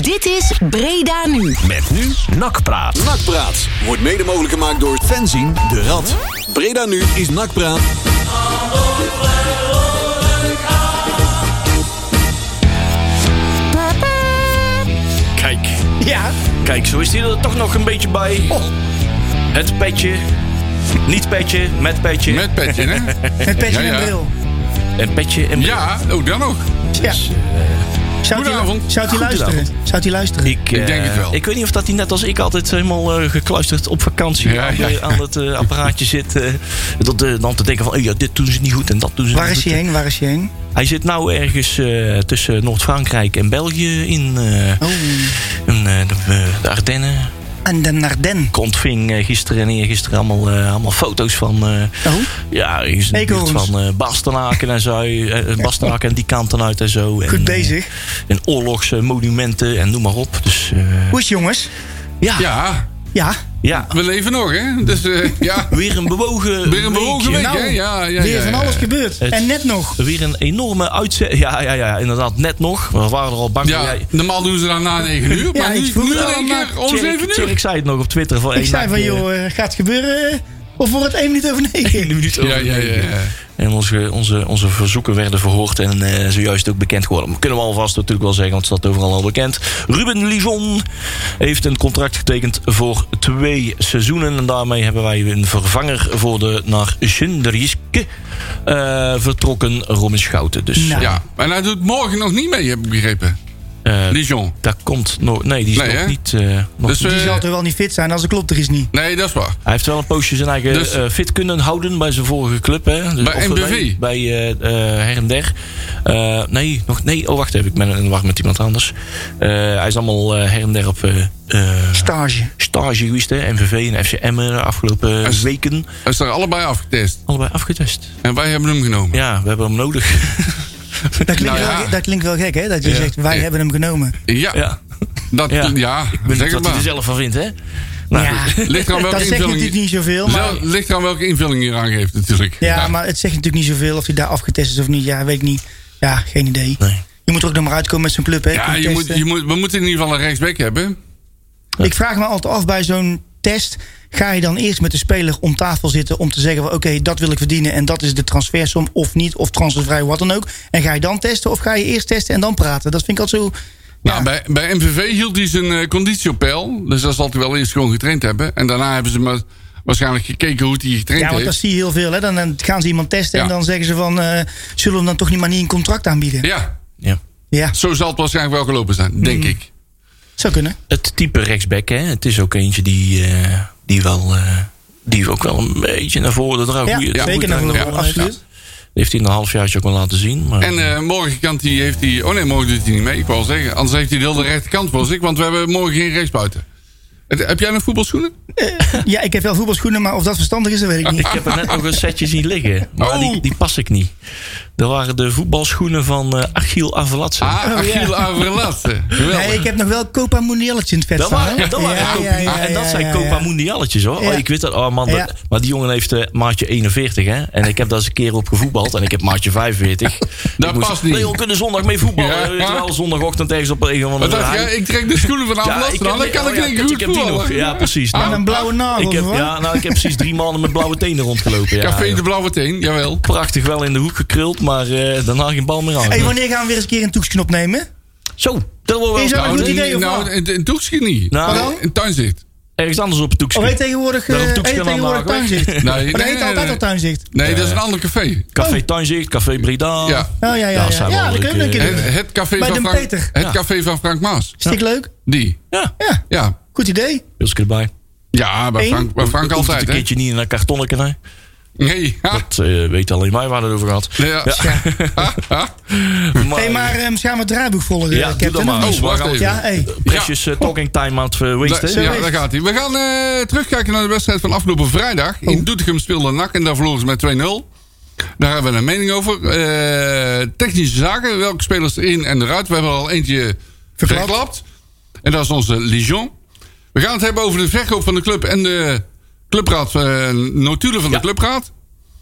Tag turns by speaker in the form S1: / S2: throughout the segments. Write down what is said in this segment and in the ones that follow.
S1: Dit is Breda Nu.
S2: Met nu Nakpraat.
S3: Nakpraat wordt mede mogelijk gemaakt door Fenzin de Rad. Breda nu is Nakpraat.
S4: Kijk,
S5: Ja.
S4: kijk, zo is hij er toch nog een beetje bij.
S6: Oh.
S4: Het petje, niet petje, met petje.
S6: Met petje, hè?
S5: Met petje
S6: Ja, ja.
S5: en bril.
S4: Een petje en
S6: Ja, ook dan nog.
S5: Ja. Zou die,
S6: Goedenavond.
S5: zou die luisteren? Zou die luisteren?
S4: Ik, eh,
S6: denk het wel.
S4: Ik weet niet of dat hij net als ik altijd helemaal eh, gekluisterd op vakantie
S6: Ja,
S4: aan, de-
S6: ja.
S4: aan het eh, apparaatje zit. eh, dat, eh, dan te denken van, oh ja, dit doen ze niet goed en dat doen ze
S5: Waar
S4: niet
S5: is
S4: goed.
S5: hij heen? Waar is hij heen?
S4: Hij zit nou ergens eh, tussen Noord-Frankrijk en België in, eh,
S5: Oh,
S4: in, eh, de, eh, de Ardennen.
S5: aan de Narden.
S4: Ik ontving eh, gisteren en eergisteren allemaal, eh, allemaal foto's van... eh,
S5: Oh,
S4: ja, is in de buurt
S5: Eekhoorns.
S4: van eh Bastenaken en zo. eh, Bastenaken en die kanten uit en zo. en,
S5: goed
S4: eh,
S5: bezig.
S4: en oorlogsmonumenten en noem maar op. Dus eh,
S5: Hoe is het, jongens?
S4: ja, ja.
S6: Ja,
S5: Ja,
S6: we leven nog, hè? Dus eh, ja,
S4: weer een bewogen
S6: weer een bewogen
S4: weekje.
S6: week, hè?
S5: Nou,
S6: Ja, ja,
S5: weer
S6: ja,
S5: van
S6: ja.
S5: alles gebeurd.
S4: Het-
S5: En net nog.
S4: Weer een enorme uitzending. Ja, ja, ja, inderdaad, net nog. We waren er al bang voor.
S6: Ja, normaal doen ze dat na 9 uur,
S5: Ja,
S6: maar nu,
S5: iets
S6: nu
S5: vroeger
S6: in
S5: dan,
S6: één
S5: maar
S6: keer om
S4: Tjerk-
S6: 7 uur.
S4: Tjerk zei het nog op Twitter. Van,
S5: Ik zei van, joh, eh, gaat het gebeuren? eh, Of wordt het 1 minuut over 9?
S4: minuut
S6: Ja, ja, ja, ja.
S4: En onze, onze, onze verzoeken werden verhoord en eh, zojuist ook bekend geworden. Maar kunnen we alvast natuurlijk wel zeggen, want het staat overal al bekend. Ruben Lijon heeft een contract getekend voor twee seizoenen. En daarmee hebben wij een vervanger voor de naar Sunderjyske eh, vertrokken Robin Schouten. Dus
S5: Nou.
S6: Ja, en hij doet morgen nog niet mee, heb ik begrepen.
S4: eh,
S6: Dijon.
S4: dat komt nog... Nee, die is
S6: Nee,
S4: nog
S6: hè?
S4: niet... eh, nog
S6: Dus,
S4: niet-
S5: Die
S6: eh,
S5: zal toch wel niet fit zijn als de klopt er is niet.
S6: Nee, dat is waar.
S4: Hij heeft wel een poosje zijn eigen
S6: Dus-
S4: eh, fit kunnen houden bij zijn vorige club. Hè? Dus
S6: Bij
S4: of-
S6: MBV?
S4: nee, bij eh, eh, her en der. Eh, nee, nog, nee, oh wacht even, ik ben in de war met iemand anders. Eh, hij is allemaal eh, her en der op eh, eh,
S5: Stage.
S4: stage geweest. Hè? MVV en FC Emmen de afgelopen
S6: Als-
S4: weken.
S6: Hij is er allebei afgetest.
S4: Allebei afgetest.
S6: En wij hebben hem genomen.
S4: Ja, we hebben hem nodig.
S5: Dat klinkt,
S6: Nou ja.
S5: wel, dat klinkt wel gek, hè? Dat je
S4: Ja.
S5: zegt, wij
S6: Ja.
S5: hebben hem genomen.
S6: Ja,
S4: ja.
S6: dat,
S4: Ja.
S6: ja.
S4: Ik
S6: zeg
S4: ben wat
S6: het
S4: hij er
S6: maar.
S4: zelf van vindt, hè? Nou,
S5: ja,
S4: goed.
S6: Ligt er aan
S5: dat
S6: welke
S5: zegt
S6: invulling,
S5: natuurlijk niet zoveel, maar...
S6: zelf- ligt er aan welke invulling je eraan geeft, natuurlijk.
S5: Ja, maar het zegt natuurlijk niet zoveel of hij daar afgetest is of niet. Ja, weet ik niet. Ja, geen idee.
S4: Nee.
S5: Je moet er ook nog maar uitkomen met zo'n club, hè?
S6: Ja,
S5: Kun
S6: je moet,
S5: testen.
S6: je moet, we moeten in ieder geval een rechtsback hebben.
S5: Ik vraag me altijd af bij zo'n test. Ga je dan eerst met de speler om tafel zitten om te zeggen: van, Oké, dat wil ik verdienen en dat is de transfersom of niet, of transfervrij, wat dan ook. En ga je dan testen of ga je eerst testen en dan praten? Dat vind ik altijd zo.
S6: Nou, bij, bij MVV hield hij zijn eh, conditie op peil. Dus dat zal hij wel eerst gewoon getraind hebben. En daarna hebben ze maar waarschijnlijk gekeken hoe hij getraind
S5: Ja, want dat
S6: heeft.
S5: zie je heel veel. Hè? Dan, dan gaan ze iemand testen en
S6: Ja.
S5: dan zeggen ze: van, eh, Zullen we hem dan toch niet maar niet een contract aanbieden? Ja,
S6: Ja,
S4: Ja.
S6: zo zal het waarschijnlijk wel gelopen zijn, denk ik.
S5: zou kunnen.
S4: het type rechtsback, hè. Het is ook eentje die, eh, die wel... eh, die ook wel een beetje naar voren draagt.
S5: Ja,
S4: Goeie-
S5: zeker
S4: goeie
S5: naar voren,
S4: draai naar
S5: absoluut.
S4: heeft. heeft hij in een halfjaartje ook wel laten zien. Maar,
S6: En eh, morgen kan hij, heeft hij... Oh nee, morgen doet hij niet mee, ik wil zeggen. Anders heeft hij de hele rechterkant voor zich. Want we hebben morgen geen rechtsbuiten. Het- heb jij nog voetbalschoenen?
S5: Ja, ik heb wel voetbalschoenen, maar of dat verstandig is, dat weet ik niet.
S4: ik heb er net nog een setje zien liggen. Maar
S6: Oh.
S4: die, die pas ik niet. Dat waren de voetbalschoenen van eh, Achiel Avalatse.
S6: Ah, Achille Averlatte. Geweldig.
S5: Nee, ik heb nog wel Copa Mundialletjes in het vet
S4: Dat
S5: staan,
S4: waren,
S5: hè?
S4: dat waren
S5: Ja,
S4: Copa-
S5: ja, ja,
S4: ah, en dat
S5: ja,
S4: zijn
S5: ja,
S4: Copa
S5: ja.
S4: Mundialletjes hoor.
S5: Ja.
S4: Oh, ik weet dat. Oh man, dat-
S5: Ja.
S4: maar die jongen heeft eh, maatje 41 hè. En ik heb daar eens een keer op gevoetbald. En ik heb maatje 45.
S6: Dat
S4: Ik moest-
S6: past niet.
S4: Nee, we kunnen zondag mee voetballen.
S6: Ja.
S4: Weet je wel, zondagochtend ergens op een of
S6: Wat
S4: andere
S6: dacht
S4: hei.
S6: jij? Ik trek de schoenen van Averlatte aan. Dan
S4: heb-
S6: kan
S4: oh
S6: ik
S4: ja,
S6: denk
S4: kut,
S6: goed
S4: ik heb die nog.
S6: voetballen.
S4: Ja, precies.
S5: Met
S4: Nou,
S5: een blauwe nagel,
S4: ik heb,
S5: of wat?
S4: ja, nou, ik heb precies drie maanden met blauwe tenen rondgelopen. Ja,
S6: Café
S4: Ja.
S6: de Blauwe Teen, jawel.
S4: Prachtig wel in de hoek gekruld, maar eh, daarna geen bal meer aan.
S5: Hey, wanneer gaan we weer eens een keer een toeksknop opnemen?
S4: Zo, dat wordt wel
S5: Is dat
S4: koud,
S5: een goed
S4: hè?
S5: idee, of
S6: nou,
S5: wat?
S6: een, een toekje niet.
S4: Nou.
S6: Nee, een tuinzicht.
S4: Ergens anders op het doekje.
S5: Of heet tegenwoordig, eh
S4: Daarom
S5: heet
S4: doe ik ze dan
S5: tegenwoordig
S4: maar, hoor.
S5: tuinzicht?
S6: Nee,
S5: maar dat
S6: nee,
S5: heet
S6: nee,
S5: altijd
S6: nee.
S5: al tuinzicht.
S6: Nee, dat is een ander café.
S4: Café Tangier, Café Breda.
S6: Ja.
S5: Oh ja, ja,
S4: Dat
S5: ja.
S4: zijn
S5: Ja,
S4: wel eh,
S5: dat
S4: leuke-
S5: kunnen we een keer doen.
S6: Het, het café
S5: Bij
S6: van
S5: Den
S6: Frank,
S5: Peter.
S6: Het café van Frank Maas.
S5: Stik leuk.
S6: Die.
S4: Ja,
S5: Ja,
S6: Ja.
S5: goed idee.
S4: pilsje erbij.
S6: Ja, bij
S5: Eén?
S6: Frank, bij Frank
S4: Hoeft het
S6: altijd,
S4: een
S6: hè?
S4: keertje niet in een kartonnetje, hè?
S6: Nee, ha.
S4: Dat eh, weet alleen mij waar het over gaat.
S6: Nee, ja. Ha,
S4: Oh,
S6: ha.
S4: Maar,
S5: hey, maar ehm ze gaan het draaiboek volgen,
S4: Ja,
S5: eh,
S4: doe dat
S5: Captain.
S4: maar.
S6: Oh, wacht
S4: Waar-
S6: even.
S5: Ja, hey.
S4: Precious eh, talking time aan het wasten.
S6: Da- ja, daar gaat hij. We gaan eh, terugkijken naar de wedstrijd van afgelopen vrijdag.
S4: Oh.
S6: In Doetinchem speelde NAC en daar verloren ze met 2-0. Daar hebben we een mening over. Eh, technische zaken, welke spelers erin en eruit. We hebben er al eentje
S5: Verklapt.
S6: verklapt. En dat is onze Lijon. We gaan het hebben over de verkoop van de club en de clubraad. eh, notulen van de clubraad.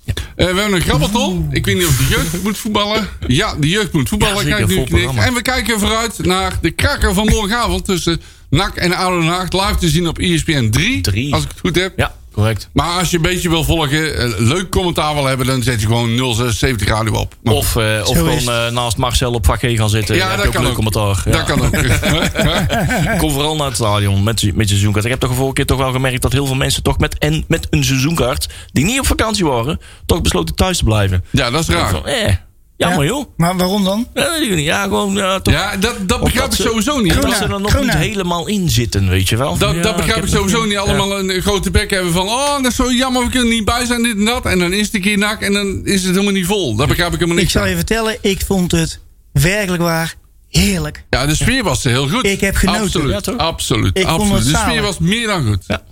S6: Eh, we hebben een grabbelton. Ik weet niet of de jeugd moet voetballen. Ja, de jeugd moet voetballen.
S4: Ja, zeker,
S6: Kijk, nu
S4: vol
S6: knik.
S4: programma.
S6: En we kijken vooruit naar de kraker van morgenavond tussen NAC en Oude Den Haag. Live te zien op E ESPN 3,
S4: Drie.
S6: als ik het goed heb.
S4: Ja, correct.
S6: Maar als je een beetje wil volgen, eh, leuk commentaar wil hebben... dan zet je gewoon 0670 radio op. Maar-
S4: Of, eh, of
S5: Zo
S4: gewoon
S5: is
S4: eh, naast Marcel op vak G gaan zitten. eh, Dan
S6: ja,
S4: heb
S6: dat
S4: je
S6: kan
S4: ook.
S6: ook.
S4: een leuk commentaar. Ja.
S6: Dat kan ook.
S4: Kom vooral naar het stadion met, met je seizoenkaart. Ik heb toch de vorige keer toch wel gemerkt dat heel veel mensen toch met, en, met een seizoenkaart... die niet op vakantie waren, toch besloten thuis te blijven.
S6: ja, dat is
S4: Ik
S6: raar.
S4: van, eh, jammer joh.
S5: Maar waarom dan?
S4: Ja, weet ik niet. ja gewoon ja, toch.
S6: Ja, dat, dat begrijp ik
S4: ze-
S6: sowieso niet.
S4: Dat
S5: Corona,
S4: ze er nog
S5: corona.
S4: niet helemaal in zitten, weet je wel.
S6: Dat,
S4: Ja,
S6: dat begrijp ik,
S4: heb
S6: sowieso
S4: nog
S6: niet. Allemaal een grote bek hebben van... oh, dat is zo jammer, we kunnen er niet bij zijn, dit en dat. En dan is het een keer nak en dan is het helemaal niet vol. Dat begrijp ik helemaal
S5: Ik
S6: niet.
S5: zal je vertellen, ik vond het werkelijk waar heerlijk.
S6: Ja, de sfeer was heel goed.
S5: Ik heb genoten.
S6: Absoluut,
S4: Ja, toch?
S6: absoluut.
S5: Ik vond
S6: absoluut.
S5: het
S6: de
S5: zalig.
S6: sfeer was meer dan goed.
S4: Ja.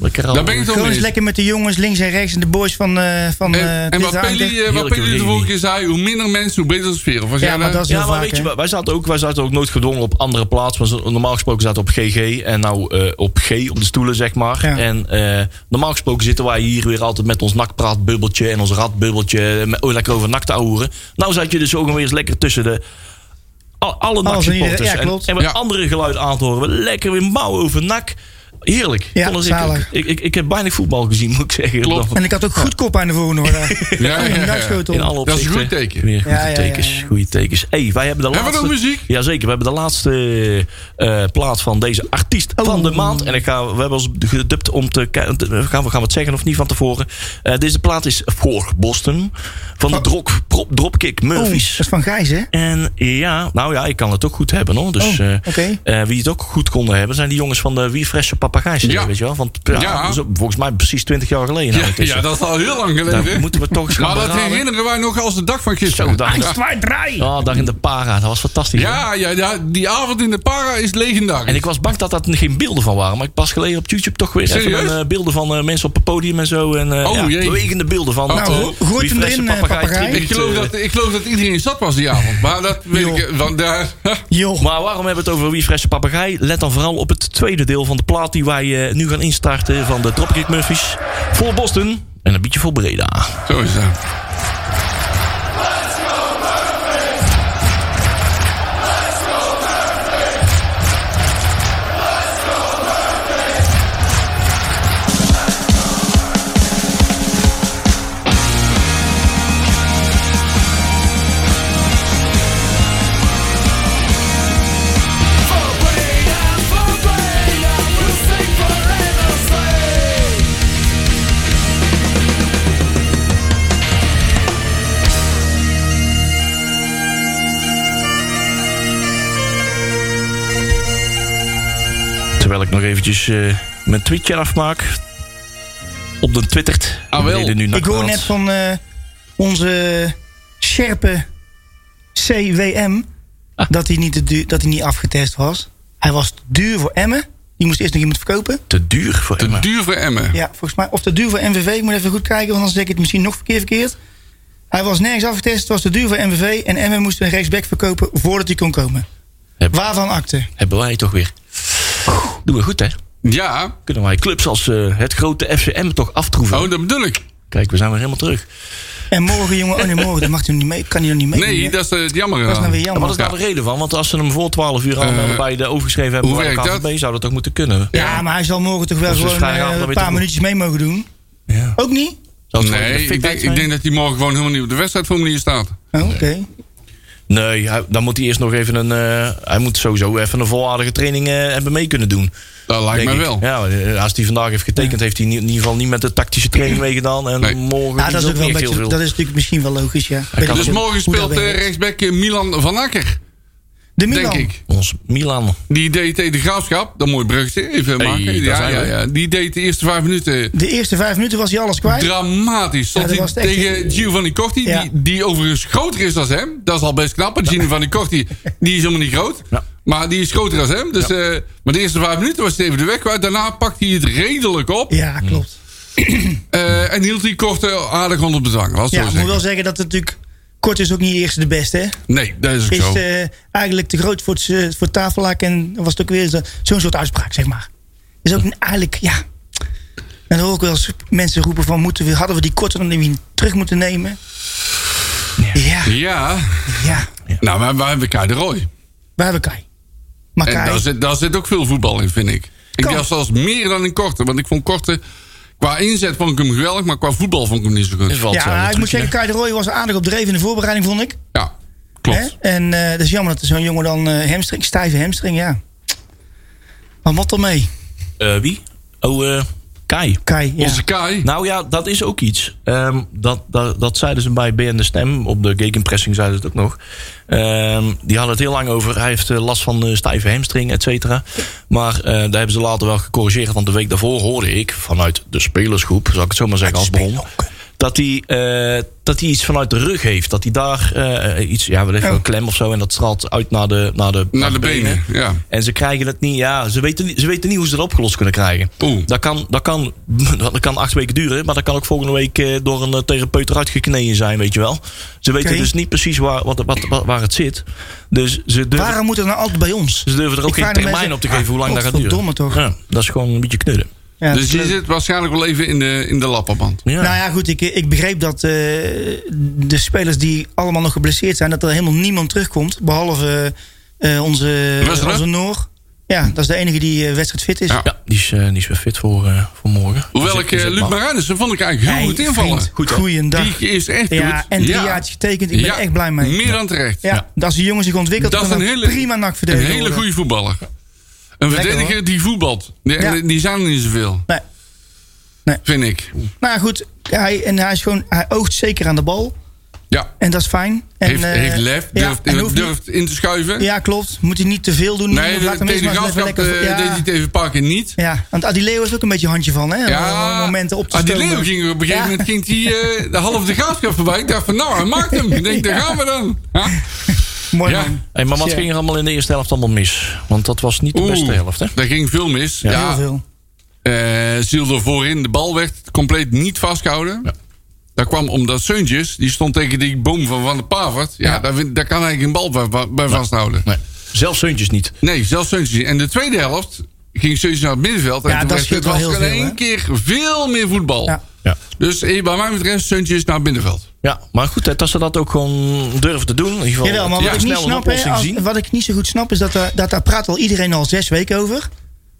S4: Lekker al-
S6: Daar ben ik het wel
S5: Gewoon
S6: mee
S5: eens
S6: eens.
S5: lekker met de jongens links en rechts en de boys van... eh van
S6: En,
S5: eh,
S6: en
S5: dit
S6: wat Pelly,
S5: aanker.
S6: eh, wat
S4: Heerlijke
S6: Pelly de vorige
S4: reunie.
S6: keer zei... hoe minder mensen, hoe beter de sfeer. Of was
S5: Ja,
S6: jij
S5: maar
S6: daar-
S5: dat is heel
S4: Ja, maar
S5: vaak,
S4: weet je,
S5: hè?
S4: wij- wij zaten, ook, wij zaten ook nooit gedwongen op andere plaats. Want ze- normaal gesproken zaten we op GG en nou eh, op G, op de stoelen, zeg maar.
S5: Ja.
S4: En eh, normaal gesproken zitten wij hier weer altijd met ons nakpraatbubbeltje en ons radbubbeltje. Met, oh, lekker over nak te ouwen. Nou zat je dus ook weer eens lekker tussen de... Al, alle
S5: en
S4: naksupporters.
S5: iedereen, ja,
S4: en,
S5: klopt.
S4: en met
S6: Ja.
S4: andere geluid aan te horen. Lekker weer mouw over nak. Heerlijk.
S5: Ja,
S4: Kon als
S5: zalig.
S4: ik, ik, ik, ik heb bijna voetbal gezien, moet ik zeggen.
S6: Klopt.
S5: En ik had ook goed kop aan de voorhoorn. hoor. Oh,
S6: Ja, ja, ja.
S5: Dagschotel.
S4: In alle
S6: Dat is een
S4: opzichten.
S6: goed teken.
S4: Weer goede
S5: Ja, ja, ja,
S4: tekens.
S5: ja.
S4: Goede tekens. hey, wij hebben de
S6: Hebben we
S4: laatste...
S6: nog muziek?
S4: Jazeker, we hebben de laatste eh plaat van deze artiest
S5: Oh.
S4: van de maand. En ik ga, we hebben ons gedubt om te... ki- te- Gaan we, gaan we het zeggen of niet van tevoren? Eh, deze plaat is voor Boston. Van
S5: Oh.
S4: de drop, prop- Dropkick
S5: Oeh,
S4: Murphys.
S5: dat is van Gijs, hè?
S4: En ja, nou ja, ik kan het ook goed hebben hoor. Dus
S5: Oh,
S4: eh,
S5: oké.
S4: eh, wie het ook goed konden hebben, zijn die jongens van de Wierfresse Papagijs.
S6: Ja.
S4: Weet je wel? Want ja,
S6: Ja.
S4: dat is ook volgens mij precies 20 jaar geleden.
S6: Ja,
S4: nou, het is- eh,
S6: ja, dat is al heel lang geleden.
S4: Daar moeten we toch eens
S6: maar
S4: gaan
S6: dat
S4: beraden.
S6: herinneren wij nog als de dag van
S4: Zo,
S6: gisteren.
S4: dag, in de, oh, dag in de para, dat was fantastisch. hè?
S6: Ja, ja, ja, die avond in de para is legendarisch.
S4: En ik was bang dat dat geen beelden van waren. Maar ik pas geleden op YouTube toch weer even
S6: Serieus?
S4: een, eh, beelden van eh, mensen op het podium en zo. En eh,
S6: Oh,
S4: ja,
S6: jee.
S4: bewegende beelden van.
S6: Nou,
S4: eh,
S6: gooi
S5: hem
S4: Wie
S5: erin,
S4: Fresse
S5: eh,
S4: Papagaai
S5: papagaai.
S4: Tribute,
S6: Ik geloof,
S4: eh,
S6: dat, ik geloof dat iedereen zat was die avond. Maar dat weet
S5: Joh.
S6: ik. Want daar,
S5: Joh.
S4: Maar waarom hebben we het over Wie Fresse Papegaai? Let dan vooral op het tweede deel van de plaat die wij eh, nu gaan instarten van de Dropkick Murphys. Voor Boston en een beetje voor Breda.
S6: zo is dat.
S4: Terwijl ik nog eventjes eh, mijn tweetje afmaak. Op de twittert.
S6: Ah, wel.
S4: Deden nu
S5: Ik hoor
S4: nakpraat.
S5: net van eh, onze scherpe CWM dat hij niet, te duur- dat hij niet afgetest was. Hij was te duur voor Emmen. Die moest eerst nog iemand verkopen.
S4: Te duur voor
S6: Te
S4: Emma.
S6: duur voor Emmen.
S5: Ja, volgens mij. Of te duur voor MVV. Ik moet even goed kijken, want anders zeg ik het misschien nog verkeerd verkeerd. Hij was nergens afgetest. Het was te duur voor MVV. En Emmen moest een rechtsback verkopen voordat hij kon komen.
S4: Heb-
S5: Waarvan akte?
S4: Hebben wij toch weer. Doen we goed hè.
S6: Ja,
S4: Kunnen wij clubs als eh, het grote FCM toch aftroeven.
S6: oh, dat bedoel ik.
S4: Kijk, we zijn weer helemaal terug.
S5: En morgen, jongen. Oh nee, morgen. Dat mag hij nog niet mee. Kan hij nog niet mee. doen,
S6: Nee,
S5: hè?
S6: dat is eh, het jammer.
S5: Dat is nou weer
S4: Ja, maar
S5: jammer.
S4: wat is nou de reden van? Want als ze hem voor 12 uur allemaal
S6: Eh,
S4: bij de overgeschreven hebben...
S6: hoe
S4: bij de
S6: werkt dat?
S4: KVB, zou dat toch moeten kunnen?
S5: Ja, maar hij zal morgen toch wel
S4: Dat is
S5: gewoon
S4: waarschijnlijk
S5: eh,
S4: allemaal
S5: een
S4: weer
S5: paar
S4: te-
S5: minuutjes mee mogen doen.
S4: Ja.
S5: Ook niet?
S4: Zou het gewoon in de
S6: Nee, ik
S4: fitheid
S6: denk, ik
S4: zijn?
S6: denk dat hij morgen gewoon helemaal niet op de wedstrijdformulier staat.
S5: Oh, Oké.
S4: Nee, hij- dan moet hij eerst nog even een... eh, hij moet sowieso even een volwaardige training eh, hebben mee kunnen doen.
S6: Dat lijkt
S4: denk
S6: mij
S4: ik.
S6: wel.
S4: Ja, maar, eh, als hij vandaag heeft getekend... heeft hij in ieder geval niet met de tactische training meegedaan. En
S6: Nee.
S4: morgen
S5: Ja, dat is ook wel een
S4: niet heel
S5: beetje,
S4: veel.
S5: dat is natuurlijk misschien wel logisch, ja. Weet
S4: kan
S5: ik
S6: Dus
S5: niet
S6: morgen
S5: hoe dat
S6: speelt eh,
S5: werkt.
S6: rechtsback eh, Milan van Akker,
S5: de
S6: denk
S5: Milan.
S6: ik.
S4: Ons Milan.
S6: Die deed tegen de graafschap. Dat mooi bruggetje. Even
S4: Hey,
S6: maken.
S4: daar
S6: Ja,
S4: zijn
S6: ja,
S4: we.
S6: ja. Die deed de eerste vijf minuten
S5: De eerste vijf minuten was hij alles kwijt.
S6: Dramatisch. Stond
S5: Ja, dat
S6: hij
S5: was het echt-
S6: tegen Giovanni Corti,
S5: Ja.
S6: die, die overigens groter is dan hem. Dat is al best knap. want Giovanni Corti die is helemaal niet groot.
S4: Ja.
S6: Maar die is groter dan hem. Dus, eh, maar de eerste vijf minuten was het even de weg kwijt. Daarna pakt hij het redelijk op.
S5: ja, klopt.
S6: eh, en hield hij Korte aardig onder bedwang. Laat het
S5: Ja,
S6: zo
S5: ik moet
S6: zeggen.
S5: wel zeggen dat het natuurlijk... Kort is ook niet de eerste de beste, hè.
S6: Nee, dat is ook
S5: Is
S6: zo.
S5: eh, eigenlijk te groot voor, het, eh, voor het tafellaken en was het ook weer zo- zo'n soort uitspraak, zeg maar. Is ook een- eigenlijk, ja... En dan hoor ik wel eens mensen roepen van... Moeten we, hadden we die korter dan die terug moeten nemen? Ja, ja.
S6: Ja, nou, maar waar hebben Kai de Roy?
S5: Waar hebben Kai? Maar
S6: En
S5: Kai,
S6: daar zit, daar zit ook veel voetbal in, vind ik. Ik
S5: Kan.
S6: dacht zelfs meer dan in Korte. Want ik vond Korte... Qua inzet vond ik hem geweldig, maar qua voetbal vond ik hem niet zo goed.
S4: valt
S5: ja,
S4: zo,
S5: maar ik moet
S4: natuurlijk,
S5: zeggen, Kai de Roy was aardig op dreven in de voorbereiding, vond ik.
S6: Ja,
S5: Hè?
S6: klopt.
S5: En eh dat is jammer dat er zo'n jongen dan eh hamstring, stijve hamstring, ja. Maar wat dan mee?
S4: hè. Eh, wie? Oh, eh, Kai.
S5: Kai, ja.
S6: Onze Kai.
S4: Nou ja, dat is ook iets. Ehm, dat, dat, dat zeiden ze bij BN De Stem. Op de gegenpressing zeiden ze het ook nog. Ehm, die hadden het heel lang over. Hij heeft eh, last van eh, stijve hamstring, et cetera. Maar eh, daar hebben ze later wel gecorrigeerd. Want de week daarvoor hoorde ik vanuit de spelersgroep... zal ik het zo maar zeggen als bron... dat hij, eh, dat hij iets vanuit de rug heeft. Dat hij daar eh, iets... Ja, we even een klem of zo. En dat straalt uit naar de, naar de,
S6: Oh. naar de benen, ja.
S4: en ze krijgen het niet, ja, ze weten, niet- ze weten niet hoe ze dat opgelost kunnen krijgen.
S6: Oeh.
S4: Dat, kan, dat, kan, dat kan acht weken duren, maar dat kan ook volgende week eh, door een eh, therapeut eruit gekneden zijn, weet je wel. Ze weten
S5: Oké.
S4: dus niet precies waar, wat, wat, wat- waar het zit. Dus ze durven,
S5: Waarom moet het nou altijd bij ons?
S6: Dus-
S4: ze durven er ook
S5: Ik
S4: geen
S5: vraag de
S4: termijn
S5: mensen-
S4: op te geven hoe lang
S5: Ah,
S4: dat gaat duren.
S5: godverdomme toch.
S4: Ja, dat is gewoon een beetje knudden.
S5: Ja, dat
S6: Dus
S5: is
S6: die
S5: leuk.
S6: zit waarschijnlijk wel even in de, in de lappenband.
S4: Ja.
S5: Nou ja, goed, ik, ik begreep dat eh, de spelers die allemaal nog geblesseerd zijn, dat er helemaal niemand terugkomt. Behalve eh, eh, onze,
S6: Westerlo?
S5: onze Noor. Ja, dat is de enige die eh, wedstrijd fit is.
S6: Ja.
S4: Ja, die is, eh, die is weer fit voor, eh, voor morgen.
S6: Hoewel
S4: Dus
S6: ik
S4: is
S6: eh,
S4: het
S6: Luc
S4: maar-
S6: Marijnissen vond ik eigenlijk heel
S5: Hey,
S6: goed invallen.
S5: vriend, goeiedag.
S6: Die is echt
S5: Ja,
S6: goed.
S5: en drie jaartjes getekend. Ik ben echt blij mee.
S6: Meer dan terecht.
S5: Ja, dat is een jongen zich ontwikkelt.
S6: Dat is
S5: kan
S6: een hele,
S5: prima
S6: een
S5: nakverdediger
S6: hele
S5: worden.
S6: goede voetballer. Een verdediger
S5: hoor.
S6: die voetbalt. Die,
S5: Ja.
S6: die zijn er niet zoveel,
S5: Nee.
S6: vind ik.
S5: Nou ja, goed, hij, en hij, is gewoon, hij oogt zeker aan de bal.
S6: Ja.
S5: En dat is fijn. En,
S6: heeft,
S5: eh,
S6: heeft lef,
S5: ja,
S6: durft,
S5: en hoeft niet-
S6: durft in te schuiven.
S5: ja, klopt. Moet hij niet te veel doen.
S6: nee,
S5: Laat hem
S6: de,
S5: eerst
S6: tegen de
S5: maar eens
S6: graafschap
S5: lekker-
S6: eh,
S5: ja.
S6: deed hij tegen een paar keer niet.
S5: Ja, want Adileo is ook een beetje een handje van, hè? om
S6: Ja,
S5: wel momenten op te
S6: ah, die
S5: stomen.
S6: leeuw ging er op een gegeven
S5: Ja.
S6: moment ging die, eh, de half de graafschap voorbij. Ik dacht van nou, hij maakt hem. Ik denk, daar gaan we dan. Ja.
S5: Mooi
S6: Ja.
S5: man.
S4: Hey, maar wat ging er allemaal in de eerste helft allemaal mis? Want dat was niet de
S6: Oeh,
S4: beste helft, hè?
S6: Daar ging veel mis. Ja,
S5: Heel veel.
S6: Eh, Zielder voorin, de bal werd compleet niet vastgehouden. Dat kwam omdat Seuntjes, die stond tegen die boom van Van der Pavert. Ja, Daar, win- daar kan eigenlijk geen bal bij, bij vasthouden. Nee,
S4: Zelfs Zeuntjes niet.
S6: zelfs Seuntjes niet. En de tweede helft ging Seuntjes naar het middenveld. En
S5: Ja,
S6: toen
S5: dat
S6: werd-
S5: scheelt
S6: het
S5: wel
S6: was
S5: heel
S6: in
S5: veel,
S6: één
S5: hè?
S6: keer veel meer voetbal.
S5: Ja.
S4: Ja.
S6: Dus eh, bij mij betreft Seuntjes naar het middenveld.
S4: Ja, maar goed, hè, dat ze dat ook gewoon durven te doen. In ieder geval,
S5: Jawel, maar
S4: ja,
S5: wat, ik niet
S4: snel een
S5: snap, hè,
S4: oplossing
S5: als-
S4: zien.
S5: wat ik niet zo goed snap is dat, daar- dat daar praat al iedereen al zes weken over.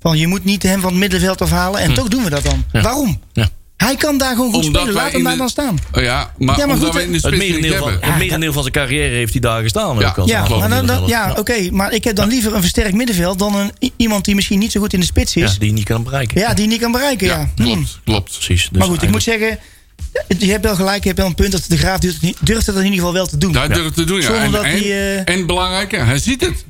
S5: Van je moet niet hem van het middenveld afhalen.
S6: Hm.
S5: En toch doen we dat dan. Waarom?
S4: Ja.
S5: Hij kan daar gewoon goed spelen. Laat hem
S6: in
S5: daar
S6: de-
S5: dan staan.
S6: Oh ja, maar,
S5: Ja, maar
S6: omdat
S5: goed,
S6: we in de
S4: Het
S6: spits niet
S4: merendeel, van,
S6: hebben.
S4: het merendeel van zijn carrière heeft hij daar gestaan.
S6: Ja,
S4: ook als
S5: Ja,
S4: aanvaller
S5: maar dan, dan-
S4: middenvelder.
S5: ja oké. maar ik heb dan liever een versterkt middenveld dan een, i- iemand die misschien niet zo goed in de spits
S4: Ja,
S5: is.
S4: die je niet kan bereiken.
S5: Ja, die niet kan bereiken. Ja,
S6: Ja,
S5: Hm.
S6: klopt, klopt.
S4: Precies. Dus
S5: Maar goed, ik moet
S4: eigenlijk-
S5: zeggen. Je hebt wel gelijk, je hebt wel een punt dat de graaf durft, het niet- durft het in ieder geval wel te doen.
S6: Dat durft te doen, ja.
S5: Zonder
S6: En,
S5: dat
S6: en,
S5: die, eh,
S6: en belangrijker, hij ziet het.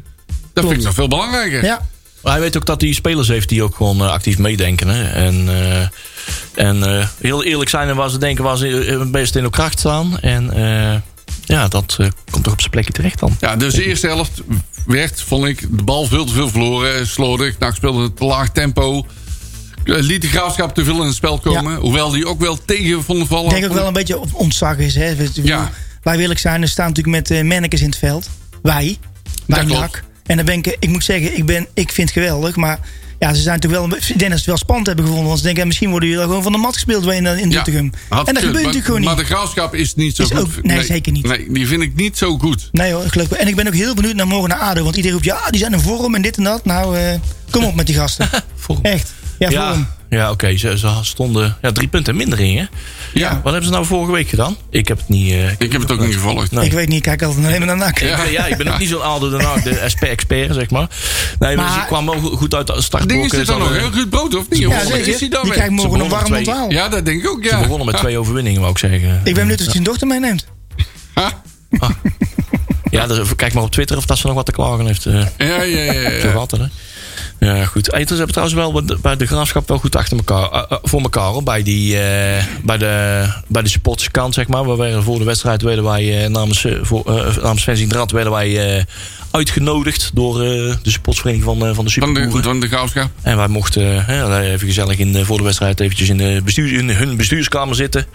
S6: Dat vind ik nog veel belangrijker.
S5: Ja,
S4: Maar hij weet ook dat hij spelers heeft die ook gewoon eh, actief meedenken. Hè. En, eh, en eh, heel eerlijk zijn in waar ze denken waar ze eh, het best in hun kracht staan. En eh, ja, dat eh, komt toch op zijn plekje terecht dan.
S6: Ja, dus de eerste helft werd, vond ik, de bal veel te veel verloren. Slordig, NAC speelde een te laag tempo. Eh, Liet de graafschap te veel in het spel komen. Hoewel die ook wel tegen vonden vallen.
S5: Ik denk ook wel een beetje op ontzag is. Hè. We- we-
S6: Ja.
S5: Wij wil ik zijn, er staan natuurlijk met eh mannekes in het veld. Wij. Wij
S6: klopt.
S5: NAC. En dan ben ik, ik moet zeggen, ik, ben, ik vind het geweldig. Maar ja, ze zijn natuurlijk wel, een be- ik denk dat ze het wel spannend hebben gevonden. Want ze denken, ja, misschien worden jullie wel gewoon van de mat gespeeld bij in, eh, in
S6: Ja,
S5: Doetinchem.
S6: had
S5: en dat
S6: gekund,
S5: gebeurt
S6: maar-
S5: natuurlijk gewoon
S6: Maar
S5: niet.
S6: de graafschap is niet zo
S5: Is
S6: goed.
S5: ook- nee, zeker niet.
S6: Nee, die vind ik niet zo goed.
S5: Nee hoor, geloof ik. En ik ben ook heel benieuwd naar morgen naar ADO. Want iedereen roept, ja, die zijn in vorm en dit en dat. Nou, eh, kom op met die gasten.
S4: Vorm.
S5: Echt. Ja, vorm.
S4: ja, ja oké. Ze, ze stonden ja, drie punten minder in. Hè.
S6: Ja.
S4: Wat hebben ze nou vorige week gedaan? Ik heb het niet... eh, nou,
S6: Ik heb het ook niet gevolgd.
S4: Nee.
S5: Ik weet niet, ik kijk altijd alleen maar naar NAC.
S4: Ja, ja, ik ben ook niet zo'n Aldo Den Haag, nou, de SP expert, zeg maar. Nee, maar,
S5: Maar-
S4: ze kwam wel go- goed uit de
S6: Het
S4: startblok.
S6: ding is,
S4: eh,
S6: dit
S4: ze
S6: dan nog
S4: hadden-
S6: heel goed brood, of niet?
S5: Ja,
S6: Of
S5: zeker.
S6: Is hij dan
S5: Die
S6: weg?
S5: krijgt morgen een
S4: begonnen
S5: warm
S4: met twee.
S5: onthaal.
S6: Ja, dat denk ik ook, ja.
S4: Ze begonnen met twee overwinningen, wou ik zeggen.
S5: Ik ben benieuwd of hij zijn dochter meeneemt.
S6: Ha?
S4: Ja, dus kijk maar op Twitter of dat ze nog wat te klagen heeft. eh,
S6: Ja, ja, ja. ja.
S4: Zo gaat dat, hè. Ja, goed. Hey, dus hebben trouwens wel bij de- bij de graafschap wel goed achter elkaar, eh, eh, voor elkaar. hoor. Bij, die, eh, bij de, bij de supporterskant, zeg maar. We werden voor de wedstrijd werden wij eh, namens, eh, voor, eh, namens Fenzien Drad werden wij eh, uitgenodigd door eh, de supportersvereniging van, eh, van de
S6: Van
S4: Superboeren.
S6: de, van de graafschap.
S4: En wij mochten hè, even gezellig in de, voor de wedstrijd eventjes in, de bestuur, in hun bestuurskamer zitten.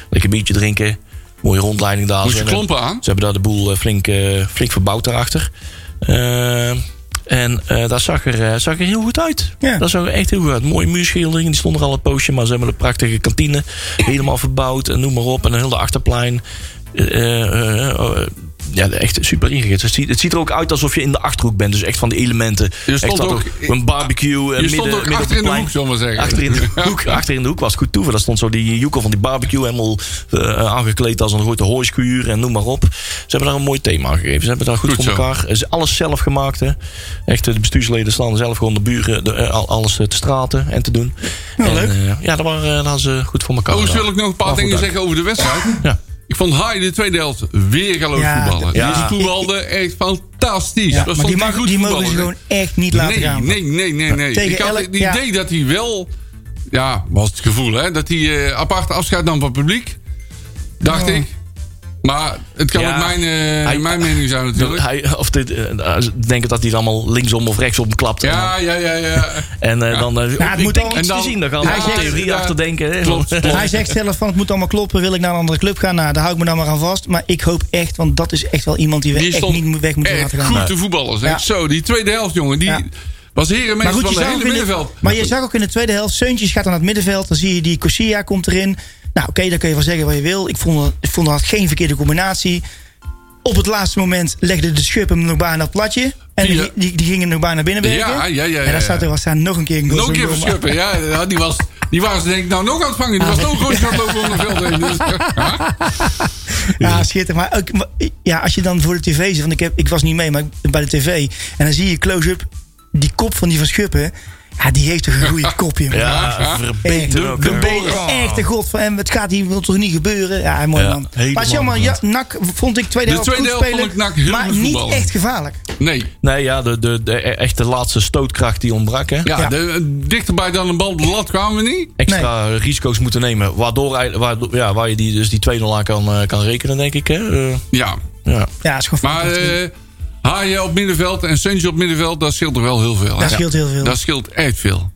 S4: Lekker een biertje drinken. Mooie rondleiding daar.
S6: Moest je
S4: Ze hebben-
S6: klompen aan?
S4: Ze hebben daar de boel eh, flink, eh, flink verbouwd daarachter. Eh, En eh, dat zag er, eh, zag er heel goed uit.
S5: Ja.
S4: Dat zag er echt heel goed uit. Mooie muurschilderingen, die stonden er al een poosje. Maar ze hebben een prachtige kantine. Helemaal verbouwd en noem maar op. En een hele achterplein. Eh, eh, eh, eh, ja, echt super ingericht. Het ziet, het ziet er ook uit alsof je in de achterhoek bent. Dus echt van de elementen.
S6: Je stond
S4: Echt dat
S6: ook-
S4: er een barbecue. eh, midden,
S6: Je stond ook
S4: midden op
S6: achter in
S4: het
S6: de
S4: plein.
S6: hoek, zullen we zeggen.
S4: Achter in de hoek, achter in de hoek was goed toe. want Daar stond zo die joekel van die barbecue helemaal eh, aangekleed als een grote hooiskuur en noem maar op. Ze hebben daar een mooi thema aan gegeven. Ze hebben daar goed,
S6: Goed
S4: voor
S6: zo.
S4: elkaar. Is alles zelf gemaakt. Hè. Echt, eh, de bestuursleden staan zelf gewoon de buren, de, eh, al- alles eh, te straten en te doen.
S5: Nou,
S4: en,
S5: leuk.
S4: eh, ja, dat, waren, eh, dat hadden ze goed voor elkaar.
S6: Overigens
S4: gedaan.
S6: wil ik Oh, nog een paar
S4: Maar goed
S6: dingen
S4: uit.
S6: zeggen over de wedstrijd.
S4: Ja.
S6: Ik vond Haai de tweede helft weer galoos
S5: Ja,
S6: voetballen.
S4: ja.
S6: Die voetbalde echt fantastisch.
S5: Ja,
S6: Dat
S5: maar
S6: vond
S5: die,
S6: ik
S5: mag,
S6: goed
S5: die mogen ze
S6: voetballen, hè.
S5: gewoon echt niet laten
S6: nee,
S5: gaan.
S6: Nee, nee, nee, nee.
S5: Tegen
S6: ik had
S5: elk-
S6: het
S5: ja.
S6: idee dat hij wel... Ja, was het gevoel, hè? Dat hij eh, apart afscheid nam van het publiek. Dacht
S5: Ja.
S6: ik. Maar het kan
S4: Ja.
S6: ook mijn, eh,
S4: Hij-
S6: mijn mening zijn natuurlijk.
S4: Hij, of dit, eh, eh, denken dat hij het allemaal linksom of rechtsom klapt.
S6: ja, ja, ja, ja.
S4: En eh, dan eh,
S5: het
S4: ik
S5: moet
S4: denk
S5: al-
S4: iets
S6: en
S4: te
S6: dan-
S4: zien. Dan gaan
S6: Hij
S4: we
S6: zegt-
S4: theorie
S6: ja,
S4: achter denken. hè.
S6: klopt, klopt.
S5: Hij zegt zelf van het moet allemaal kloppen. Wil ik naar een andere club gaan? Nou, daar hou ik me dan maar aan vast. Maar ik hoop echt, want dat is echt wel iemand die we
S6: Die
S5: echt
S6: stond
S5: niet moet- weg moeten
S6: echt
S5: laten gaan.
S6: goed te voetballen. zeg.
S5: Ja.
S6: Zo, die tweede helft, jongen. Die
S5: Ja.
S6: was herenmeester van
S5: je
S6: het
S5: zag
S6: hele
S5: ook in de-
S6: middenveld.
S5: maar je zag ook in de tweede helft, Seuntjes gaat aan het middenveld. Dan zie je die Corsia komt erin. Nou oké, dan kun je wel zeggen wat je wil. Ik vond, dat- ik vond dat geen verkeerde combinatie. Op het laatste moment legde de schub hem nog bijna op het platje. En
S6: Ja.
S5: die, die, die ging hem nog bijna binnen werken.
S6: Ja, ja, ja,
S5: En
S6: ja,
S5: daar staat
S6: ja.
S5: er was daar nog een keer een goal.
S6: Nog een keer
S5: Zo'n goal.
S6: verschuppen, ja. ja, Die was, die was denk ik nou nog aan het vangen. Die was nog gewoon gaan lopen onder veld heen. Dus,
S5: Ja, schitterend. Maar ook, maar, ja, als je dan voor de tv zit, want ik, heb, ik was niet mee, maar ik- bij de tv. En dan zie je close-up die kop van die van Schuppen. Ja, die heeft toch een goede kopje. man.
S4: Ja,
S5: Echt,
S4: verbeteren.
S5: de beter.
S6: Oh.
S5: Echt de god van hem. Het gaat hier wil toch niet gebeuren. Ja, mooi
S4: Ja,
S5: man.
S4: helemaal
S5: Maar jammer, ja, NAC vond ik tweede
S6: De
S5: helft goed
S6: tweede helft
S5: spelen.
S6: vond ik NAC heel
S5: maar
S6: goed
S5: niet
S6: voetballen.
S5: echt gevaarlijk.
S6: nee.
S4: Nee, ja, de, de, de, echt de laatste stootkracht die ontbrak. Hè?
S6: Ja,
S5: Ja.
S6: de- eh, dichterbij dan een bal op de lat kwamen we niet.
S4: Extra risico's moeten nemen. Waardoor, hij- waardoor ja, waar je die, dus die 2-0 aan kan, eh, kan rekenen, denk ik. Hè? Eh,
S6: Ja,
S4: ja.
S5: Ja, is gewoon
S6: maar
S5: fantastisch.
S6: eh Haaien op middenveld en Suntje op middenveld, dat scheelt er wel heel veel. hè?
S5: Dat scheelt heel veel.
S6: Dat scheelt echt veel.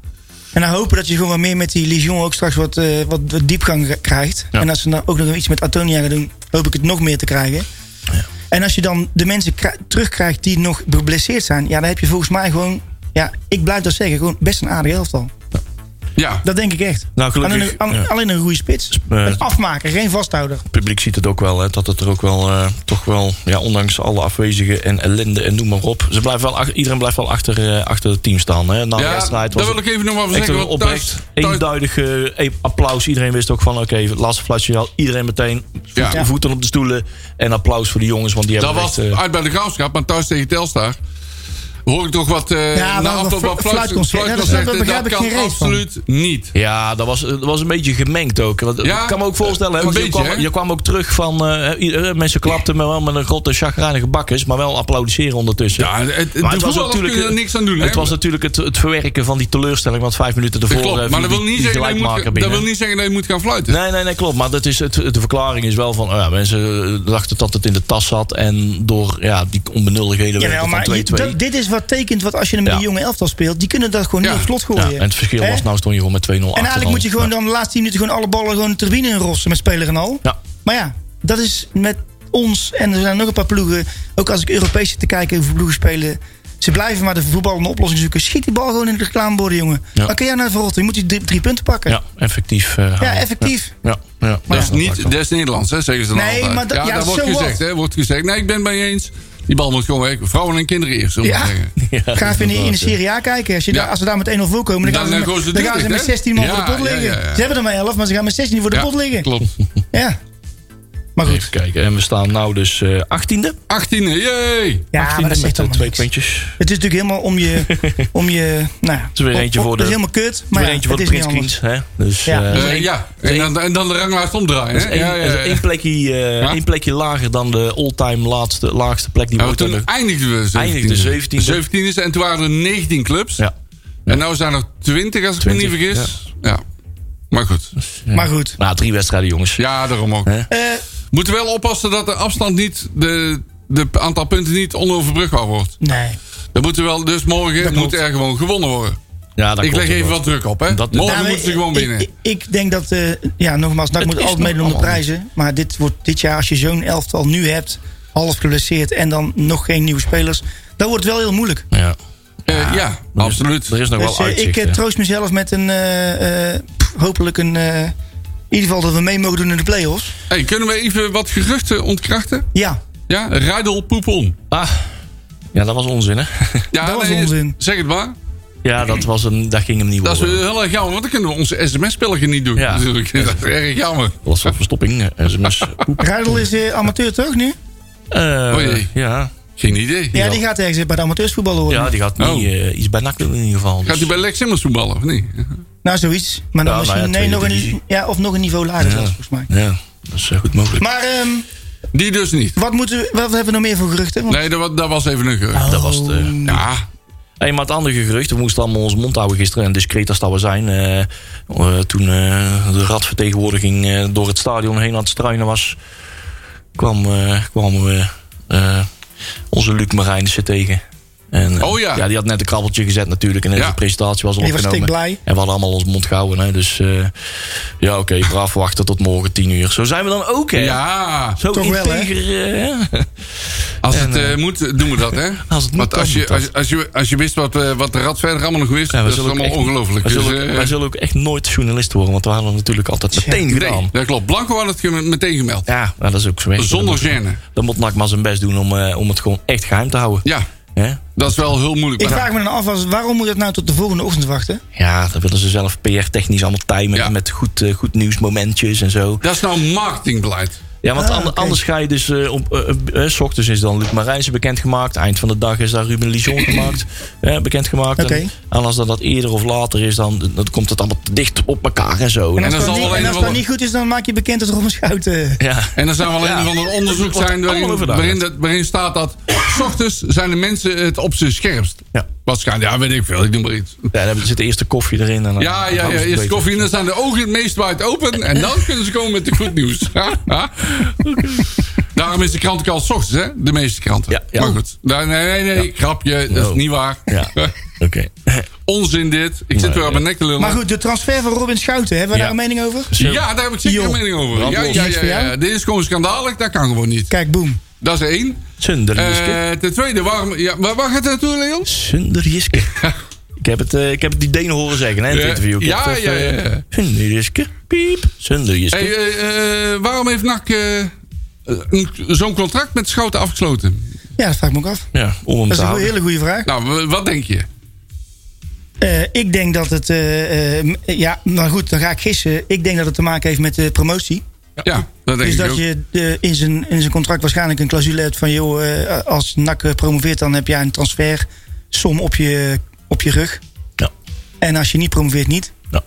S5: En dan hopen dat je gewoon wat meer met die Ligion ook straks wat, eh, wat, wat diepgang ge- krijgt.
S4: Ja.
S5: En als ze dan ook nog iets met Antonia gaan doen, hoop ik het nog meer te krijgen. En als je dan de mensen kri- terugkrijgt die nog geblesseerd zijn, ja, dan heb je volgens mij gewoon, ja, ik blijf dat zeggen, gewoon best een aardig elftal.
S6: Ja,
S5: Dat denk ik echt.
S4: Nou, gelukkig,
S5: alleen, een, al-
S4: ja.
S5: alleen een goede spits.
S4: eh,
S5: een afmaker, geen vasthouder.
S4: Het publiek ziet het ook wel. Hè, dat het er ook wel, eh, toch wel, ja, ondanks alle afwezigen en ellende en noem maar op. Ze blijven wel, ach- iedereen blijft wel achter, eh, achter het team staan. Hè. Na de
S6: ja
S4: wedstrijd was
S6: daar wil
S4: het
S6: ik even nog maar van
S4: echt
S6: zeggen.
S4: een
S6: want
S4: oprecht,
S6: thuis- thuis-
S4: eenduidig eh, e- applaus. Iedereen wist ook van, oké, het laatste fluitje al. Iedereen meteen
S6: Ja.
S4: voet- voeten op de stoelen. En applaus voor de jongens, want die
S6: Dat
S4: hebben
S6: was
S4: echt, eh,
S6: uit bij de graafschap, maar thuis tegen Telstar. Hoor ik toch wat. eh
S5: Ja,
S6: na
S5: wel
S6: afloop
S5: wat
S6: wat
S5: flu-
S6: fluit-
S5: fluitconcert. Ja, dat is-
S6: fluitconcert.
S5: daar begrijp ik
S6: kan
S5: geen reet van.
S6: absoluut niet.
S4: Ja, dat was, dat was een beetje gemengd ook. Want,
S6: Ja,
S4: ik kan me ook voorstellen, hè,
S6: een
S4: want
S6: beetje,
S4: je, kwam,
S6: hè?
S4: je kwam ook terug van... eh, i- eh, mensen klapten me wel met een grote chagrijnige bakkes... maar wel applaudisseren ondertussen.
S6: Ja, het, het,
S4: Maar
S6: de voetballers kunnen er
S4: eh,
S6: niks aan doen.
S4: Het
S6: hè?
S4: was natuurlijk het, het verwerken van die teleurstelling... want vijf minuten
S6: dat
S4: ervoor
S6: klopt.
S4: eh,
S6: Maar
S4: viel
S6: dat wil,
S4: die-
S6: niet
S4: die
S6: zeggen dat, je
S4: gelijkmaker
S6: moet, dat
S4: binnen.
S6: wil niet zeggen dat je moet gaan fluiten.
S4: Nee, nee, nee, klopt. Maar dat is het, het- de verklaring is wel van... oh ja, mensen eh, dachten dat het in de tas zat... en door ja, die onbenulligheden werd
S5: Jawel,
S4: het van
S5: maar je-
S4: 2-2.
S5: dat- dit is wat tekent wat als je met
S4: Ja.
S5: een jonge elftal speelt. Die kunnen dat gewoon
S6: Ja.
S5: niet op slot
S4: Ja,
S5: gooien.
S4: en het verschil
S5: Hè?
S4: was nou stond je gewoon met 2-0
S5: En eigenlijk moet je gewoon
S4: Ja.
S5: dan de laatste 10 minuten gewoon alle ballen gewoon de turbine in rossen met speler en al.
S4: Ja.
S5: Maar ja, dat is met ons en er zijn nog een paar ploegen. Ook als ik Europees zit te kijken hoeveel ploegen spelen. Ze blijven maar de voetbal een oplossing zoeken. Schiet die bal gewoon in de reclameborden, jongen.
S4: Ja.
S5: Dan kun jij naar verrotten. Je moet die drie, drie punten pakken.
S4: Ja, effectief. eh,
S5: Ja,
S4: houden.
S5: effectief.
S4: Ja, ja,
S5: Maar
S6: Dat
S5: ja.
S6: is niet des Nederlands, hè, zeggen ze dan
S5: Nee,
S6: altijd.
S5: maar dat-
S6: ja,
S5: ja,
S6: dat
S5: so
S6: wordt
S5: what?
S6: gezegd, hè, wordt gezegd. Nee, ik ben bij je eens. Die bal moet gewoon weg. Vrouwen en kinderen eerst, zullen we
S5: Ja.
S6: maar zeggen.
S5: Ga even in, de- in de
S4: inderdaad,
S5: Serie A kijken. Als, je
S6: Ja.
S5: daar, als ze daar met 1-0 voor komen,
S6: Dan,
S5: dan, gaan
S6: eh,
S5: ze,
S6: gaan ze
S5: met, dan gaan
S6: direct,
S5: ze met
S6: hè?
S5: 16 man voor
S6: Ja,
S5: de pot
S6: ja, ja,
S5: liggen.
S6: ja.
S5: Ze hebben er maar 11, maar ze gaan met 16 voor de
S6: Ja,
S5: pot liggen.
S6: Klopt.
S5: Ja. Maar goed.
S4: Even kijken. En we staan nou dus eh 18e.
S6: 18e, jee!
S4: 18e
S5: Ja, maar dat
S4: met
S5: zegt
S4: eh,
S5: allemaal
S4: twee
S5: niks.
S4: puntjes.
S5: Het is natuurlijk helemaal om je. om je nou, het
S4: is weer eentje voor de-
S5: Het is helemaal kut.
S4: Maar
S5: Maar ja,
S4: eentje voor de
S5: het is niet
S4: printscreens. hè. Dus,
S5: Ja.
S4: eh,
S5: Dat
S6: Eh,
S4: één-
S6: ja,
S4: dat
S6: en
S4: is
S6: dan, en dan de ranglijst omdraaien.
S4: dat
S6: Hè?
S4: is één-
S6: Ja, ja,
S4: dat is
S6: ja.
S4: één plekje, eh,
S6: Ja?
S4: één plekje lager dan de all-time laatste, laagste plek die we
S6: Nou,
S4: ooit
S6: toen
S4: hebben.
S6: eindigden we 17e.
S4: Eindigde 17e.
S6: 17e en toen waren er 19 clubs.
S4: Ja.
S6: En nu zijn er 20, als ik me niet
S4: 20,
S6: vergis. Ja. Maar goed.
S5: Maar goed.
S4: Nou, drie wedstrijden, jongens.
S6: Ja, daarom ook.
S4: Hè?
S5: Eh,
S6: Moeten wel oppassen dat de afstand niet, de, de aantal punten niet onoverbrugbaar wordt.
S5: nee.
S6: Dat moeten wel, dus morgen moet er gewoon gewonnen worden.
S4: Ja, dat
S6: ik
S4: klopt
S6: leg even
S4: inderdaad.
S6: wat druk op, hè?
S4: Dat-
S6: morgen
S5: Nou,
S6: moeten ze gewoon
S5: ik-
S6: winnen.
S5: Ik, ik denk dat, eh, ja, nogmaals, NAC
S4: Het
S5: moet
S4: is
S5: altijd
S4: nog
S5: meedoen om de
S4: allemaal
S5: prijzen. Maar dit wordt dit jaar, als je zo'n elftal nu hebt, half geblesseerd en dan nog geen nieuwe spelers, dan wordt het wel heel moeilijk.
S4: Ja.
S6: Eh, ja, absoluut.
S4: Er is nog
S5: Dus
S4: wel
S5: eh, ik
S4: uitzicht.
S5: eh,
S4: hè.
S5: troost mezelf met een. eh, eh, pff, hopelijk een. eh, in ieder geval dat we mee mogen doen in de play-offs.
S6: Hey, kunnen we even wat geruchten ontkrachten?
S5: Ja,
S6: Ja, Rijdel Poepon.
S4: Ah, ja, dat was onzin, hè?
S6: Ja,
S5: Dat was onzin.
S6: Zeg het maar.
S4: Ja, dat, was een, dat ging hem niet
S6: Dat is eh,
S4: worden.
S6: heel erg jammer, want dan kunnen we onze sms-spelletje niet doen.
S4: Ja.
S6: Natuurlijk. Dat is erg jammer.
S4: Dat was voor verstopping, eh, sms. Poep.
S5: Ruidel is eh, amateur toch nu?
S4: Eh,
S6: O jee.
S4: ja.
S6: Geen idee.
S5: Ja, die gaat ergens bij de amateursvoetbal horen.
S4: ja, die gaat
S6: Oh.
S4: niet, eh, iets bij NAC doen in ieder geval. Dus.
S6: Gaat hij bij Lex Simmons voetballen of niet?
S5: Nou, zoiets. Maar dan
S4: Ja,
S5: misschien.
S4: nou ja,
S5: nee, nog
S4: tweede
S5: een,
S4: divisie.
S5: ja, of nog een niveau lager, zelfs, volgens mij.
S4: Ja, dat is eh, goed mogelijk.
S5: Maar ehm,
S6: Die dus niet.
S5: wat, moeten we, wat hebben we nog meer voor geruchten? Want-
S6: Nee, dat, wa- dat was even een gerucht.
S5: Oh.
S4: Dat was het. eh.
S6: Ja,
S4: Hey, maar het andere gerucht, we moesten allemaal ons mond houden gisteren. En discreet als dat we zijn. eh, eh, toen eh, de radvertegenwoordiging eh, door het stadion heen aan het struinen was... kwam, eh, kwamen we eh, onze Luc Marijnissen tegen. En, eh,
S6: Oh ja.
S4: die had net een krabbeltje gezet natuurlijk. En net
S6: Ja.
S4: de presentatie was al
S5: Die was
S4: opgenomen.
S5: stikblij.
S4: En we hadden allemaal ons mond gehouden. Hè, dus eh, ja, oké, braaf wachten tot morgen tien uur. Zo zijn we dan ook, hè?
S6: ja.
S4: Zo
S5: Toch wel, hè?
S4: integer, eh,
S6: als
S4: En,
S6: het eh, moet, doen we dat, hè?
S4: Als het moet,
S6: Want als
S4: dan
S6: je,
S4: moet dat.
S6: als, je- als, je, als je wist wat, eh, wat de rat verder allemaal nog wist,
S4: Ja, we
S6: dat is
S4: zullen ook
S6: allemaal
S4: echt-
S6: ongelooflijk.
S4: Wij,
S6: Dus,
S4: zullen ook-
S6: eh,
S4: wij zullen ook echt nooit journalist worden, want we hadden het natuurlijk altijd meteen gedaan.
S6: nee, dat klopt. Blanco had het ge- meteen gemeld.
S4: Ja, nou, dat is ook zo. hè.
S6: Zonder
S4: Dan moet-
S6: gêne.
S4: Dan moet NAC maar zijn best doen om, eh, om het gewoon echt geheim te houden.
S6: Ja,
S4: Hè?
S6: dat is wel heel moeilijk.
S5: Ik
S6: maar-
S5: vraag me dan af, als- waarom moet dat nou tot de volgende ochtend wachten?
S4: Ja, dat willen ze zelf PR-technisch allemaal timen
S6: Ja.
S4: met goed, eh, goed nieuwsmomentjes en zo.
S6: Dat is nou marketingbeleid.
S4: Ja, want
S5: Ah,
S4: an-
S5: oké.
S4: anders ga je dus... eh, om, eh, eh, eh, s ochtends is dan Luc Marijnse bekendgemaakt. Eind van de dag is daar Ruben Lijon gemaakt, eh, bekendgemaakt.
S5: Oké.
S4: En, en als dat, dat eerder of later is, dan, dan komt het allemaal te dicht op elkaar en zo.
S5: En
S6: dat
S5: als
S6: zal
S5: dat, niet,
S6: wel
S5: en
S6: een
S5: als
S6: van
S5: dat
S6: de-
S5: niet goed is, dan maak je bekend dat Robin Schouten...
S4: ja.
S6: En er zou wel
S4: Ja.
S6: een van de onderzoek
S4: Het wordt
S6: zijn waarin,
S4: allemaal overdaan.
S6: waarin, dat, waarin staat dat... S ochtends zijn de mensen het op zijn scherpst.
S4: Ja.
S6: Waarschijnlijk, ja, weet ik veel. Ik doe maar iets.
S4: Ja, dan zit de eerste koffie erin. En dan
S6: Ja,
S4: dan
S6: ja,
S4: gaan we het
S6: ja. Eerst
S4: weten.
S6: koffie en dan staan de ogen het meest wijd open. En dan kunnen ze komen met de goed nieuws. Ha, ha. Daarom is de krantenkant s ochtends, hè? De meeste kranten.
S4: Ja, ja.
S6: Maar goed. Nee, nee, nee. Grapje. Dat
S4: No.
S6: is niet waar.
S4: Ja, oké.
S6: Onzin dit. Ik zit
S4: Nee,
S6: weer op
S4: ja.
S6: mijn nek te lullen.
S5: Maar goed, de transfer van Robin Schouten, hebben we
S4: Ja.
S5: daar een mening over?
S4: Zo.
S6: Ja, daar heb ik zeker
S5: Joh.
S6: een mening over. Ja,
S4: Brandlos.
S6: ja,
S5: Niks
S6: ja,
S5: voor
S6: ja.
S5: jou?
S6: Dit is gewoon schandalig. Dat kan gewoon niet.
S5: Kijk, boom.
S6: Dat is één.
S4: Zunder Jiske.
S6: Eh, ten tweede, waarom... Ja, waar, waar gaat het naartoe, Leon?
S4: Zunder Jiske. ik, heb het, eh, ik heb het die Denen horen zeggen hè, in het
S6: Ja,
S4: interview. Ik heb
S6: ja,
S4: het even,
S6: ja, ja, ja.
S4: Zunder Jiske. Piep. Zunder Jiske.
S6: Hey, eh, eh, waarom heeft NAC eh, een- zo'n contract met Schouten afgesloten?
S5: Ja, dat vraag ik me ook af.
S4: ja, om hem
S5: Dat
S4: te
S5: is een goe-
S4: houden.
S5: hele goede vraag.
S6: Nou, w- wat denk je?
S5: Eh, ik denk dat het... eh, eh, m- ja, maar goed, dan ga ik gissen. Ik denk dat het te maken heeft met de promotie.
S6: Ja, dat denk
S5: Dus
S6: ik
S5: dat
S6: ook.
S5: je eh, in, zijn, in zijn contract waarschijnlijk een clausule hebt van... joh, eh, als NAC promoveert, dan heb jij een transfersom op je, op je rug.
S4: Ja.
S5: En als je niet promoveert, niet.
S4: Ja.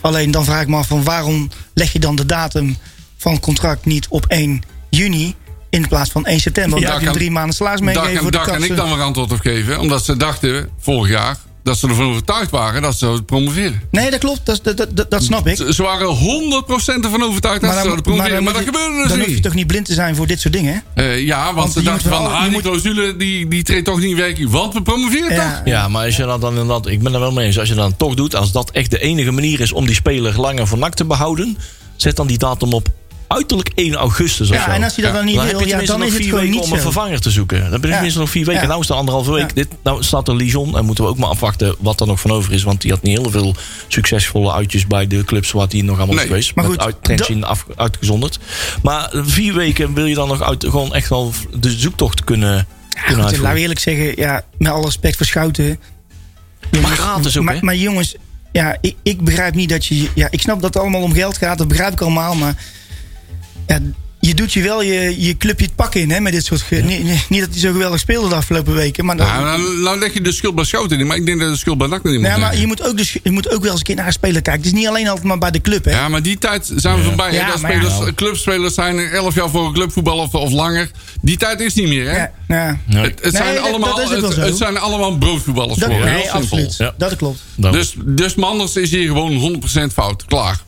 S5: Alleen dan vraag ik me af van waarom leg je dan de datum van het contract niet op 1 juni... in plaats van 1 september? Want
S6: Ja,
S5: daar heb je
S6: kan-
S5: drie maanden salaris
S6: Daar
S5: meegeven
S6: kan,
S5: voor de
S6: daar kan ik
S5: kassen.
S6: dan weer antwoord op geven. Omdat ze dachten, vorig jaar, dat ze ervan overtuigd waren dat ze zouden promoveren.
S5: Nee, dat klopt. Dat, dat, dat, dat snap ik.
S6: Ze, ze waren 100% ervan overtuigd dat ze zouden promoveren. Maar,
S5: moet
S6: dat
S5: je-
S6: gebeurde dus
S5: dan hoef je
S6: niet.
S5: toch niet blind te zijn voor dit soort dingen? hè?
S6: Eh, ja, want,
S5: Want
S6: ze
S5: je
S6: dachten
S5: moet
S6: van,
S5: wel-
S6: ah,
S5: je
S6: die
S5: moet-
S6: clausule die, die treedt toch niet in werking. Want we promoveren
S5: Ja.
S6: toch?
S4: Ja, maar als je dat dan inderdaad, ik ben er wel mee eens, als je dat dan toch doet, als dat echt de enige manier is om die speler langer voor NAC te behouden, zet dan die datum op uiterlijk 1 augustus of zo.
S5: Ja, en als je dat
S6: Ja.
S5: dan niet
S4: Dan heb
S5: wil,
S4: je
S5: ja,
S4: tenminste nog
S5: dan is het
S4: vier
S5: gewoon
S4: weken
S5: niet
S4: om een
S5: zo.
S4: vervanger te zoeken. Dan heb je
S5: Ja.
S4: tenminste nog vier weken.
S5: Ja.
S4: Nou is het anderhalve week.
S5: Ja.
S4: Dit, nou staat er Lijon en moeten we ook maar afwachten wat er nog van over is. Want die had niet heel veel succesvolle uitjes bij de clubs waar die nog allemaal
S6: Nee,
S4: is geweest.
S5: maar
S4: Met
S5: goed,
S4: uit, Trentin af, uitgezonderd. Maar vier weken wil je dan nog uit, gewoon echt wel de zoektocht kunnen,
S5: Ja,
S4: kunnen
S5: goed, laten we
S4: uitvoeren.
S5: eerlijk zeggen, ja, met alle respect voor Schouten.
S4: Maar gratis ook, hè?
S5: Maar, maar jongens, ja, ik, ik begrijp niet dat je. Ja, ik snap dat het allemaal om geld gaat, dat begrijp ik allemaal. Maar ja, je doet je wel je, je clubje het pak in hè, met dit soort. ge- niet, niet- niet dat hij zo geweldig speelde de afgelopen weken. Maar, dat-
S6: Nou, nou, nou leg je de schuld bij Schouten in. Maar ik denk dat de schuld bij NAC niet moet
S5: Nou ja, maar
S6: liggen.
S5: je moet, ook dus, je moet ook wel eens een keer naar een speler kijken. Het is niet alleen altijd maar bij de club. Hè.
S6: Ja, maar die tijd zijn we voorbij. hè?
S5: Ja,
S6: dat
S5: maar ja.
S6: spelers, clubspelers zijn er 11 jaar voor een clubvoetbal of, of langer. Die tijd is niet meer, hè?
S5: Ja, ja.
S6: Het, het
S5: Nee,
S6: zijn
S5: dat-
S6: allemaal,
S5: dat is ook wel
S6: het,
S5: zo.
S6: het zijn allemaal broodvoetballers
S5: Dat,
S6: geworden.
S5: nee,
S6: Heel simpel.
S5: absoluut.
S4: Ja.
S5: Dat klopt.
S4: Dan-
S6: Dus, dus Manders is hier gewoon 100% fout. Klaar.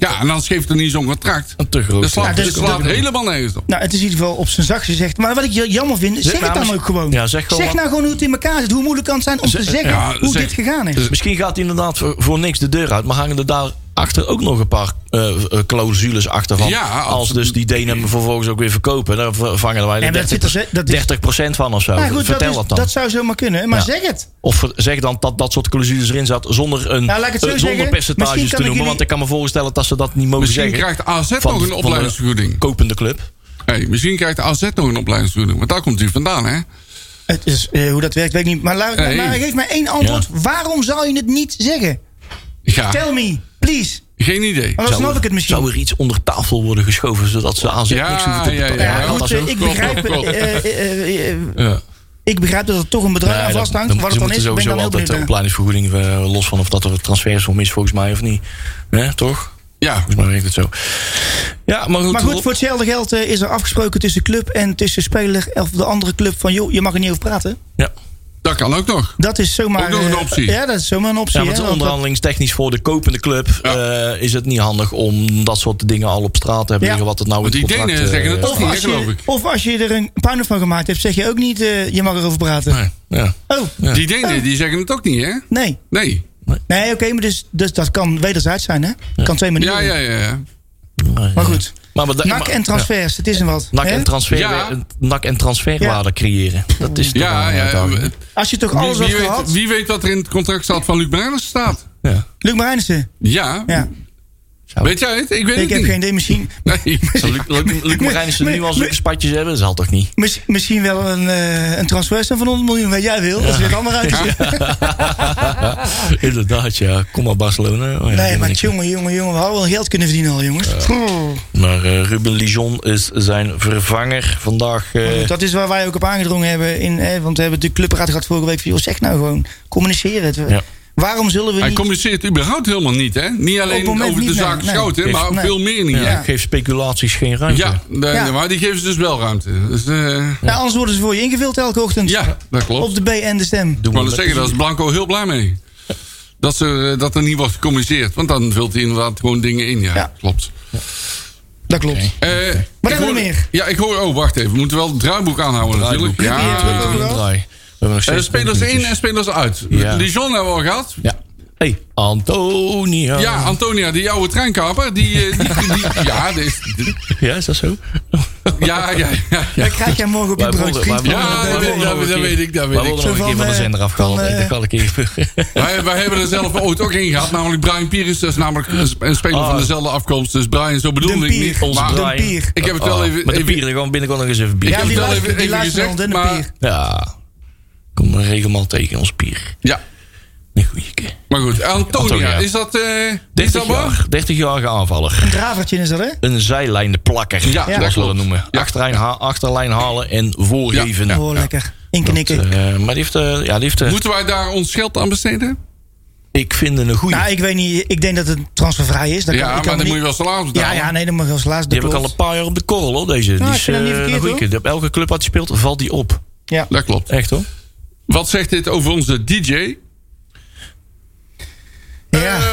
S6: Ja, en dan geeft er niet zo'n contract.
S4: Een te groot
S6: Dat slaat,
S4: Ja,
S5: dat
S6: dat
S5: is-
S6: slaat helemaal nergens op.
S5: Nou, het is in ieder geval op zijn zachtst gezegd. Maar wat ik j- jammer vind, zeg het
S4: nou,
S5: dan
S4: maar-
S5: ook gewoon.
S4: Ja, zeg gewoon wat-
S5: nou gewoon hoe het in elkaar zit. Hoe moeilijk kan het zijn om te zeggen
S6: ja,
S5: hoe
S6: zeg-
S4: Dus
S5: dit gegaan is.
S4: Misschien gaat hij inderdaad voor, voor niks de deur uit. Maar hangen er daar achter ook nog een paar eh, eh, clausules achter van.
S6: Ja, als-
S4: als dus die Denen hem vervolgens ook weer verkopen, daar v- vangen wij
S5: maar
S4: de
S5: dat zit
S4: 30,
S5: er ze- dat is-
S4: 30% van of zo.
S5: Nou goed,
S4: Vertel
S5: dat,
S4: dat,
S5: is-
S4: dan.
S5: dat zou zomaar kunnen. Maar
S4: Ja.
S5: zeg het.
S4: Of ver- zeg dan dat dat soort clausules erin zat zonder, een,
S5: Nou, laat ik het zo
S4: eh, zonder
S5: zeggen.
S4: percentages te
S5: Misschien kan
S4: noemen.
S5: ik jullie-
S4: Want ik kan me voorstellen dat ze dat niet mogen
S6: Misschien
S4: zeggen.
S6: krijgt AZ
S4: Van-
S6: nog
S4: van
S6: een
S4: de-
S6: opleidingsvergoeding.
S4: Kopende club.
S6: Hey, misschien krijgt AZ nog een opleidingsvergoeding. Want daar komt hij vandaan, hè?
S5: Het is, eh, hoe dat werkt, weet ik niet. Maar, laat,
S4: Eh,
S6: Nee.
S5: maar geef mij één antwoord. Waarom zou je het niet zeggen?
S6: Ja,
S5: Tell me, please.
S6: geen idee.
S5: Want dan snap ik het misschien.
S4: Zou er iets onder tafel worden geschoven zodat ze aan zich
S6: Ja,
S4: niks hoeven te
S6: ja, ja.
S4: betalen?
S5: Ja,
S4: Kan
S5: goed,
S4: dat
S5: eh,
S4: zo?
S5: ik
S6: Klopt,
S5: begrijp,
S6: klopt, klopt.
S5: eh, eh, eh,
S4: Ja.
S5: ik begrijp dat er toch een bedrag
S4: Nee,
S5: aan
S4: dat-
S5: vasthangt.
S4: dan- ze
S5: Wat het dan
S4: moeten
S5: is, ben ik
S4: sowieso
S5: dan heel
S4: altijd
S5: benieuwd.
S4: de
S5: naar.
S4: opleidingsvergoeding, eh, los van of dat er een transfersom is volgens mij of niet. Hè, toch?
S6: Ja,
S4: Volgens mij werkt het zo. Ja, maar goed.
S5: Maar goed, voor hetzelfde geld eh, is er afgesproken tussen club en tussen speler of de andere club van joh, je mag er niet over praten.
S4: ja.
S6: dat kan ook nog.
S5: Dat is zomaar
S6: Ook nog een
S5: eh,
S6: optie.
S5: ja, dat is zomaar een optie.
S4: Ja, want
S5: hè, want dat-
S4: onderhandelingstechnisch voor de kopende club
S6: Ja.
S4: eh, is het niet handig om dat soort dingen al op straat te hebben
S5: Ja.
S4: liggen. Wat het nou
S6: Want
S4: in het
S6: die
S4: contract,
S6: Denen
S4: eh,
S6: zeggen het
S4: staat.
S6: ook niet.
S5: of, als
S6: geloof
S5: je,
S6: ik.
S5: of als je er een puinhoop van gemaakt hebt, zeg je ook niet eh, je mag erover praten.
S4: Nee, ja.
S5: Oh,
S4: Ja.
S6: Die Denen die zeggen het ook niet, hè?
S5: nee.
S6: Nee.
S5: Nee, oké, maar dus, dus dat kan wederzijds zijn, hè? Kan twee manieren.
S6: Ja, ja, ja. ja.
S4: Nee,
S5: Maar
S4: ja.
S5: goed.
S4: Maar, wat-
S5: NAC en
S4: ja.
S5: transfers, het is een wat.
S4: NAC
S5: hè?
S4: en, transfer,
S6: Ja.
S4: NAC en transferwaarde creëren. Dat is toch
S6: Ja,
S4: wel
S6: ja,
S4: uitdaging.
S5: Als je toch
S6: Wie,
S5: alles had
S6: wie weet,
S5: gehad.
S6: wie weet wat er in het contract staat van Luc Brenners staat?
S4: ja.
S5: Luc Marijnissen.
S6: Ja.
S5: Ja.
S6: Weet jij het? Ik weet
S5: Ik
S6: het
S5: heb
S6: niet.
S5: geen idee, misschien,
S6: Nee.
S4: Zou Luc, Luc, Luc Marijnissen nu al zulke spatjes hebben? Dat zal toch niet?
S5: miss- misschien wel een, eh, een transfer van 100 miljoen, weet jij wil. Dat is weer een ander uit.
S4: Inderdaad, ja. Kom maar Barcelona. Oh, ja,
S5: Nee,
S4: die
S5: maar
S4: ben ik.
S5: jongen, jongen, jongen, we hadden wel geld kunnen verdienen al, jongens. Pff,
S4: Maar eh, Ruben Lijon is zijn vervanger vandaag. eh,
S5: Oh, dat is waar wij ook op aangedrongen hebben. In, eh, want we hebben de clubraad gehad vorige week van, joh, zeg nou gewoon, communiceren. Het.
S4: Ja.
S5: Waarom zullen we
S6: Hij
S5: niet...
S6: communiceert überhaupt helemaal niet, hè? Niet
S5: Op het
S6: alleen
S5: moment
S6: over de
S5: niet, nee,
S6: zaak
S5: nee.
S6: Schouten,
S4: Heeft-
S6: maar
S5: nee.
S6: veel meer niet.
S4: ja,
S6: Ja,
S5: ja.
S4: Geeft speculaties geen ruimte.
S6: ja, de-
S5: Ja.
S6: maar die geven ze dus wel ruimte. Dus, eh,
S5: Nou, anders worden ze voor je ingevuld elke ochtend.
S6: ja, dat klopt.
S5: Op de B en de stem.
S4: Doen
S6: Ik wou
S4: we
S6: net zeggen, daar is Blanco heel blij mee. Dat, ze, eh, dat er niet wordt gecommuniceerd. Want dan vult hij inderdaad gewoon dingen in. Ja,
S5: Ja.
S6: klopt.
S5: Dat klopt.
S6: Eh, ik
S5: hebben we
S6: hoor-
S5: meer?
S6: Ja, ik hoor... Oh, wacht even. We moeten wel het draaiboek aanhouden
S4: Draaiboek.
S6: natuurlijk. Ja,
S5: Ja,
S6: dat-
S5: ja, ja.
S6: dat-
S4: draai. We hebben nog
S6: eh,
S4: steeds
S6: spelers in en spelers uit.
S4: Ja.
S6: Dijon hebben we al gehad.
S4: Ja. Hey, Antonio.
S6: Ja, Antonia, die oude treinkaper. Die, eh, die, die- ja, die is- die-
S4: Ja, is dat zo?
S6: ja, ja, ja.
S5: Dat krijg jij morgen op je
S4: Wij
S5: brood.
S4: worden- wij
S5: Vriend,
S4: worden-
S6: Ja,
S4: wij
S6: dat
S4: worden
S6: weet-
S4: nog
S6: dat
S4: een
S6: weet-
S4: keer-
S6: dat weet ik, dat
S4: wij
S6: weet ik.
S4: worden nog een
S5: Zo
S4: keer van de
S5: van,
S4: zender
S5: eh,
S4: afgehaald.
S5: van, eh,
S4: Dat kan ik even.
S6: Wij, wij hebben er zelf ooit ook in gehad. Namelijk Brian Pierce. Dat is namelijk een sp- een speler
S4: Ah.
S6: van dezelfde afkomst. Dus Brian, zo bedoelde ik
S5: Dempier.
S6: niet.
S4: Onze
S6: maar-
S5: Brian.
S4: Brian.
S6: Ah, Ik heb het wel
S4: Oh,
S6: even-
S4: Met de
S6: even-
S4: bieren gewoon binnenkort nog eens even bier.
S5: Ja,
S6: heb
S5: die
S6: het wel
S5: luistert,
S6: even-
S5: die
S6: even
S5: luistert
S6: gezegd,
S5: al, Den de
S6: maar-
S5: Pier.
S4: Ja. Kom maar regelmatig tegen ons bier.
S6: Ja,
S4: Een goeie keer.
S6: maar goed. Antonia,
S4: Antonia.
S6: is dat... eh is
S4: 30
S6: dat waar?
S4: jaar, 30-jarige aanvaller.
S5: Een dravertje is dat, hè?
S4: Een zijlijnenplakker.
S6: Ja,
S4: dat
S6: dat
S4: zullen we
S6: klopt.
S4: noemen.
S6: Ja.
S4: Achterlijn, ha- achterlijn halen en voorgeven.
S6: Ja,
S5: Oh, lekker. Inknikken.
S4: Dat, eh, maar die heeft... eh, ja, die heeft eh,
S6: Moeten wij daar ons geld aan besteden?
S4: ik vind een goeie.
S5: Nou, ik weet niet. Ik denk dat het transfervrij is. Dat
S6: ja,
S5: kan, ik
S6: maar
S5: kan
S6: dan
S5: me
S6: moet je
S5: niet-
S6: wel salaris betalen.
S5: Ja, ja, nee, dat mag als laatste.
S4: die heb ik al een paar jaar op de korrel, hoor, deze. die
S5: Nou, ik
S4: is,
S5: vind dat niet
S4: eh,
S5: verkeerd,
S4: een goeie
S5: hoor.
S4: keer. Op elke club wat hij speelt, valt die op.
S5: Ja.
S6: Dat klopt.
S4: Echt, hoor.
S6: Wat zegt dit over onze DJ?
S5: Ja.
S6: Eh,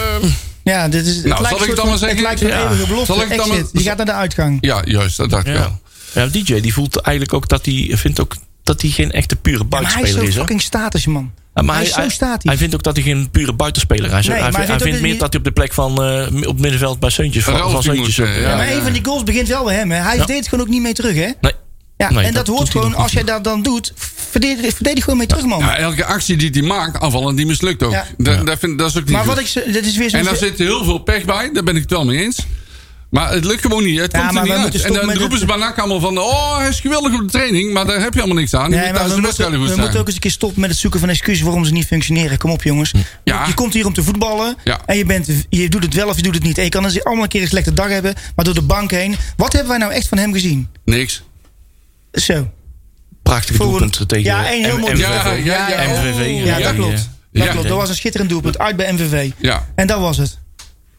S5: ja, dit is. het
S6: Nou, zal
S5: lijkt
S6: ik
S5: een soort
S6: dan
S5: van-
S6: maar zeggen?
S5: Het lijkt een
S4: Ja.
S5: eeuwige belofte.
S6: Zal ik dan maar-
S5: Exit. Je gaat naar de uitgang.
S6: ja, juist, dat dacht ik
S4: Ja.
S6: wel.
S4: ja, DJ die voelt eigenlijk ook dat hij... Vindt ook dat hij geen echte pure
S5: maar hij
S4: buitenspeler
S5: is
S4: is,
S5: zo
S4: hoor.
S5: fucking status, man.
S4: Ja,
S5: hij is zo statisch.
S4: hij vindt ook dat hij geen pure buitennspeler is. Hij,
S5: Nee,
S4: hij,
S5: maar hij
S4: vindt, hij
S5: vindt ook
S4: vindt
S5: dat
S4: meer
S5: hij-
S4: dat hij op de plek van eh, op middenveld bij Seuntjes van,
S6: Ralf
S4: van
S6: die moet,
S4: Seuntjes.
S6: eh,
S4: ja.
S5: Ja, maar een van die goals begint wel bij hem. Hè. Hij deed gewoon ook niet mee terug, hè?
S4: Nee.
S5: Ja,
S4: Nee,
S5: en dat,
S4: doet
S5: hoort
S4: hij
S5: gewoon,
S4: nog
S5: als jij
S4: niet.
S5: dat dan doet, verdedig, verdedig gewoon mee terug, man.
S6: Ja, elke actie die hij maakt, aanvallen, die mislukt ook.
S5: Ja.
S6: Dat, dat, vind, dat is ook niet
S5: maar
S6: goed.
S5: wat ik. zo- Dit is weer zo'n.
S6: En daar zit heel veel pech bij, daar ben ik het wel mee eens. Maar het lukt gewoon niet, het
S5: Ja,
S6: komt er
S5: maar
S6: niet
S5: wij
S6: uit.
S5: moeten
S6: En dan
S5: stoppen met
S6: roepen ze
S5: het-
S6: bij NAC allemaal van... oh, hij is geweldig op de training, maar daar heb je allemaal niks aan. Je
S5: Nee,
S6: moet
S5: maar
S6: thuis
S5: we, moeten,
S6: de wedstrijden goed
S5: we
S6: zijn.
S5: moeten ook eens een keer stoppen met het zoeken van excuses waarom ze niet functioneren. Kom op, jongens.
S6: Ja.
S5: Je komt hier om te voetballen.
S6: Ja.
S5: En je, bent, je doet het wel of je doet het niet. En je kan dus allemaal een keer een slechte dag hebben. Maar door de bank heen. Wat hebben wij nou echt van hem gezien?
S6: Niks.
S5: Zo.
S4: Prachtig
S5: Voor-
S4: doelpunt tegen
S5: Ja, één heel
S4: M-
S5: mooi
S4: MVV.
S6: Ja, ja, ja.
S4: MVV,
S5: Ja,
S4: Oh. ja,
S5: dat
S4: ja.
S5: klopt.
S6: Ja.
S5: Dat klopt. Dat was een schitterend doelpunt. Uit bij MVV.
S6: Ja.
S5: En dat was het.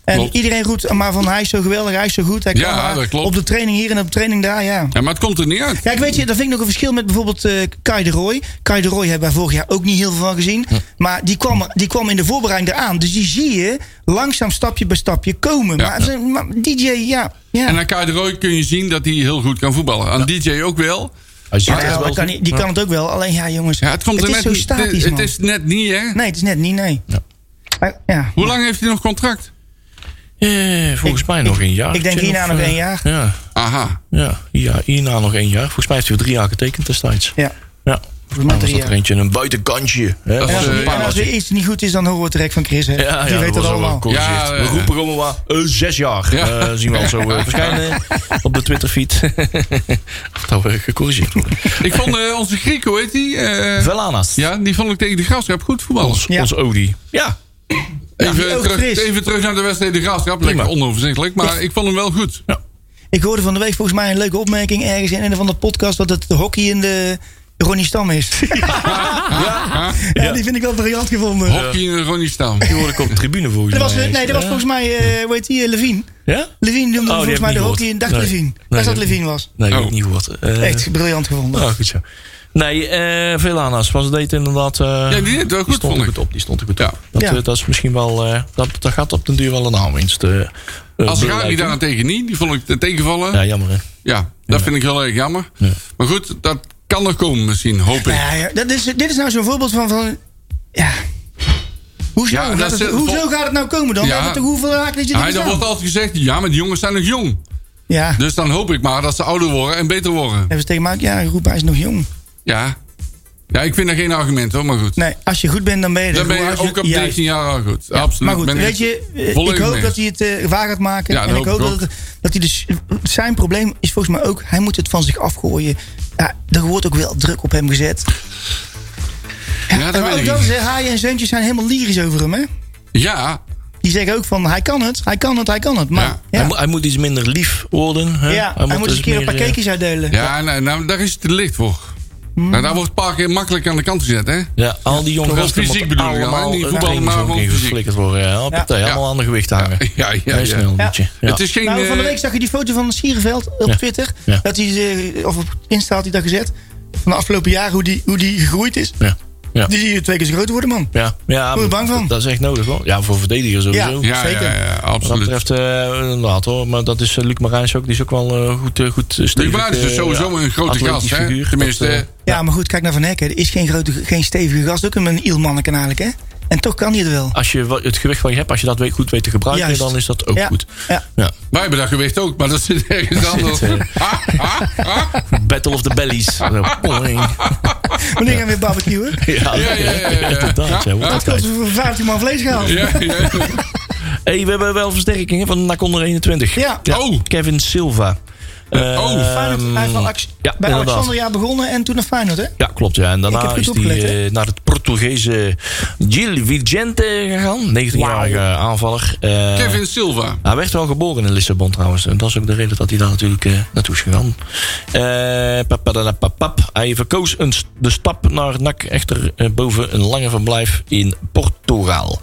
S5: En
S6: Klopt.
S5: iedereen roept, maar van hij is zo geweldig, hij is zo goed. Hij
S6: Ja,
S5: kan maar
S6: dat klopt.
S5: Op de training hier en op de training daar, ja.
S6: Ja, maar het komt er niet uit.
S5: Kijk, weet je, dat vind ik nog een verschil met bijvoorbeeld eh Kai de Roy. Kai de Roy hebben wij vorig jaar ook niet heel veel van gezien. Maar die kwam, er- die kwam in de voorbereiding eraan. Dus die zie je langzaam stapje bij stapje komen.
S6: Ja,
S5: maar, maar DJ, ja. ja.
S6: En aan Kai de Roy kun je zien dat hij heel goed kan voetballen. Aan DJ ook wel.
S4: Hij ziet
S5: Ja,
S4: het
S5: dat
S4: wel.
S5: kan niet- die kan het ook wel. Alleen ja, jongens.
S6: Ja, het komt er
S5: is
S6: net
S5: zo
S6: niet-
S5: statisch,
S6: Het
S5: man.
S6: is net niet, hè?
S5: Nee, het is net niet, nee.
S4: Ja.
S5: Maar, ja.
S6: Hoe lang heeft hij nog contract?
S4: Eh, volgens
S5: Ik-
S4: mij
S5: ik-
S4: nog een jaar.
S5: ik denk
S4: Of,
S5: hierna nog
S4: eh,
S5: één jaar.
S4: Ja,
S6: Aha.
S4: ja, ja, hierna nog één jaar. Volgens mij heeft hij voor drie jaar getekend destijds.
S5: Ja.
S4: Ja,
S5: Volgens mij
S4: dan Nou, was
S5: drie
S4: dat er
S5: jaar.
S4: eentje een buitenkantje. Hè,
S6: Dat
S4: van
S5: En als,
S6: was,
S4: een
S6: eh,
S5: en als er
S4: paaltje.
S5: iets niet goed is, dan horen we het direct van Chris. Hè?
S4: Ja,
S5: Die
S4: ja,
S5: weet
S4: dat
S5: dat
S4: was al wel
S5: allemaal.
S4: gecorrigeerd.
S6: Ja,
S4: We
S6: eh,
S4: roepen gewoon maar eh, zes jaar.
S6: Ja.
S4: Eh, zien we al zo eh, verschijnen op de Twitterfeed. of dat we gecorrigeerd worden.
S6: Ik vond eh, onze Griek, hoe heet die? Eh,
S4: Velanas.
S6: ja, die vond ik tegen de Graafschap goed voetballers.
S4: Ons,
S5: Ja.
S4: ons Odie. Ja,
S5: die
S6: Even,
S5: ook
S6: terug,
S5: fris.
S6: even terug naar de wedstrijd de Graafschap. Lekker
S4: Prima.
S6: onoverzichtelijk, maar ik vond hem wel goed.
S5: Ik hoorde van de week volgens mij een leuke opmerking ergens in een van de podcast dat het de hockey in de Ronnie Stam is. Ja, die vind ik wel briljant gevonden.
S6: Hockey en Ronnie Stam.
S4: die hoorde ik op de tribune volgens
S5: Dat was,
S4: mij.
S5: nee, dat was volgens mij, eh hoe heet die, eh, Levine.
S4: Ja?
S5: Levine noemde
S4: Oh, die heb
S5: volgens
S4: ik
S5: mij
S4: niet
S5: de hockey
S4: gehoord.
S5: in, dacht
S4: Nee.
S5: Levine.
S4: Nee,
S5: dat dat
S4: nee.
S5: Levine was.
S4: Nee, ik
S6: Oh.
S4: heb niet gehoord. Eh,
S5: Echt briljant gevonden.
S4: Nou, goed zo. Nee, eh Velanas was deed inderdaad. eh,
S6: Ja, die deed wel goed,
S4: stond
S6: vond
S4: er
S6: ik.
S4: goed op. Die stond er goed
S6: Ja.
S4: op. Dat,
S5: Ja.
S4: eh, dat is misschien wel. eh, dat, dat gaat op den duur wel een aanwinst. eh, eh,
S6: Als
S4: bereiken.
S6: Rami daarentegen niet, die vond ik te tegenvallen. Ja,
S4: Ja, jammer hè.
S6: dat vind ik heel erg jammer.
S4: Ja.
S6: Maar goed, dat kan nog komen misschien, hoop ik.
S5: Nou ja, dat is, dit is nou zo'n voorbeeld van, van ja. Hoezo,
S6: Ja,
S5: gaat
S6: dat
S5: het,
S6: is-
S5: hoezo gaat het nou komen dan?
S6: Ja.
S5: We hebben toch hoeveel raken dat je
S4: Nou,
S6: Hij,
S5: er
S6: dan wordt
S5: staan?
S6: altijd gezegd, ja, maar die jongens zijn nog jong.
S5: Ja, hebben
S6: Dus dan hoop ik maar dat ze ouder worden en beter worden.
S5: ze tegen mij, ja, roep, hij is nog jong.
S6: Ja, ja ik vind daar geen argument hoor, maar goed.
S5: Nee, als je goed bent, dan ben je er.
S6: Dan ben
S5: Gewoon
S6: je
S5: als
S6: ook op
S5: juist.
S6: 19 jaar al goed. Absoluut.
S5: Maar goed,
S6: ben ik
S5: weet je, eh, ik
S6: volledig
S5: hoop
S6: mee.
S5: dat hij het eh, waar gaat maken.
S6: Ja, dat
S5: en ik
S6: hoop
S5: hoop
S6: ik
S5: dat, het, dat hij dus. Zijn probleem is volgens mij ook, hij moet het van zich afgooien. Ja, er wordt ook wel druk op hem gezet.
S6: Ja,
S5: maar
S6: dat weet
S5: ook
S6: ik
S5: dat
S6: niet.
S5: is, hè, haaien en zeuntjes zijn helemaal lyrisch over hem, hè?
S6: Ja,
S5: Die zeggen ook van, hij kan het, hij kan het, hij kan het. Maar
S6: Ja.
S5: ja,
S4: Hij,
S5: ja.
S4: moet, hij moet iets minder lief worden. Hè?
S5: hij, moet eens
S4: dus
S5: een keer een
S4: meer,
S5: paar
S4: eh,
S5: cakejes uitdelen.
S6: ja nou, nou, daar is het te licht voor. Nou, daar wordt een paar keer makkelijk aan de kant gezet, hè?
S4: Ja, al die jonge
S6: Vooral
S4: gasten
S6: fysiek
S4: moeten
S6: bedoel ik, hè?
S4: allemaal
S6: Niet
S4: een
S6: voetballen, maar
S4: trainingshoek
S6: gewoon
S4: in
S6: fysiek.
S4: geflikkerd worden. Ja, eh, hoppatee,
S5: Ja.
S4: allemaal aan de gewichten hangen.
S6: Ja, ja,
S4: Heel
S6: ja.
S4: snel,
S5: Ja.
S4: liedje. Ja.
S6: Het is geen...
S5: Nou, van de
S6: eh,
S5: week zag je die foto van Sierenveld op
S4: Ja.
S5: Twitter.
S4: Ja.
S5: Dat hij, eh, of op Insta had hij dat gezet. Van de afgelopen jaren, hoe die, hoe die gegroeid is.
S4: Ja. Ja.
S5: Die zie je twee keer zo groot worden, man.
S4: Ja, ja,
S5: Word je bang van?
S4: dat- Dat is echt nodig hoor. Ja, voor verdedigers sowieso.
S5: Ja.
S6: eh, ja, ja,
S5: Zeker.
S6: ja,
S4: Wat dat
S6: absoluut.
S4: betreft, eh, inderdaad hoor. Maar dat is eh, Luc Marijns ook. Die is ook wel eh, goed, eh, goed eh, stevig.
S6: Luc Marijns is
S4: eh,
S6: dus sowieso een grote
S4: atletisch
S6: gast, hè?
S4: figuur.
S6: Tenminste,
S4: Dat, eh,
S6: eh,
S5: Ja, maar goed, kijk naar Van Hekken. Er is geen, grote, geen stevige gast, ook een ielmanneken eigenlijk, hè? En toch kan hij het wel.
S4: als je wa- het gewicht wat je hebt, als je dat weet- goed weet te gebruiken,
S5: Juist.
S4: Ah, dan is dat ook
S5: Ja,
S4: goed.
S5: ja.
S4: Ja.
S6: Wij hebben dat gewicht ook, maar dat zit ergens anders. Ah,
S4: zit,
S6: Ha, ha, ha.
S4: Battle of the Bellies. Zo, boing.
S5: Wanneer gaan we weer barbecuen?
S4: ja,
S6: ja, ja, ja, ja.
S4: inderdaad. Ja, wordt
S5: Dat
S4: het
S5: kost
S4: tijd.
S5: voor 15 man vlees gehaald.
S4: Ehm,
S6: Ja, ja.
S4: Hey, we hebben wel versterkingen van Nakonder 21.
S5: Ja.
S6: Oh.
S4: Kevin Silva.
S6: oh.
S4: Eh,
S5: Feyenoord, hij heeft wel Ax-
S4: ja,
S5: bij
S4: inderdaad.
S5: Alexander jaar begonnen en toen naar Feyenoord, hè?
S4: Ja, klopt. Ja. En
S5: Ik
S4: daarna
S5: heb goed
S4: is hij
S5: opgelet, hè?
S4: eh, naar het Portugese Gil Vigente gegaan. 19-jarige aanvaller. Eh,
S6: Kevin Silva.
S4: Hij werd wel geboren in Lissabon trouwens. En dat is ook de reden dat hij daar natuurlijk eh, naartoe is gegaan. Eh, papadadapapap. hij verkoos een, s- de stap naar NAC echter eh, boven een lange verblijf in Portugal.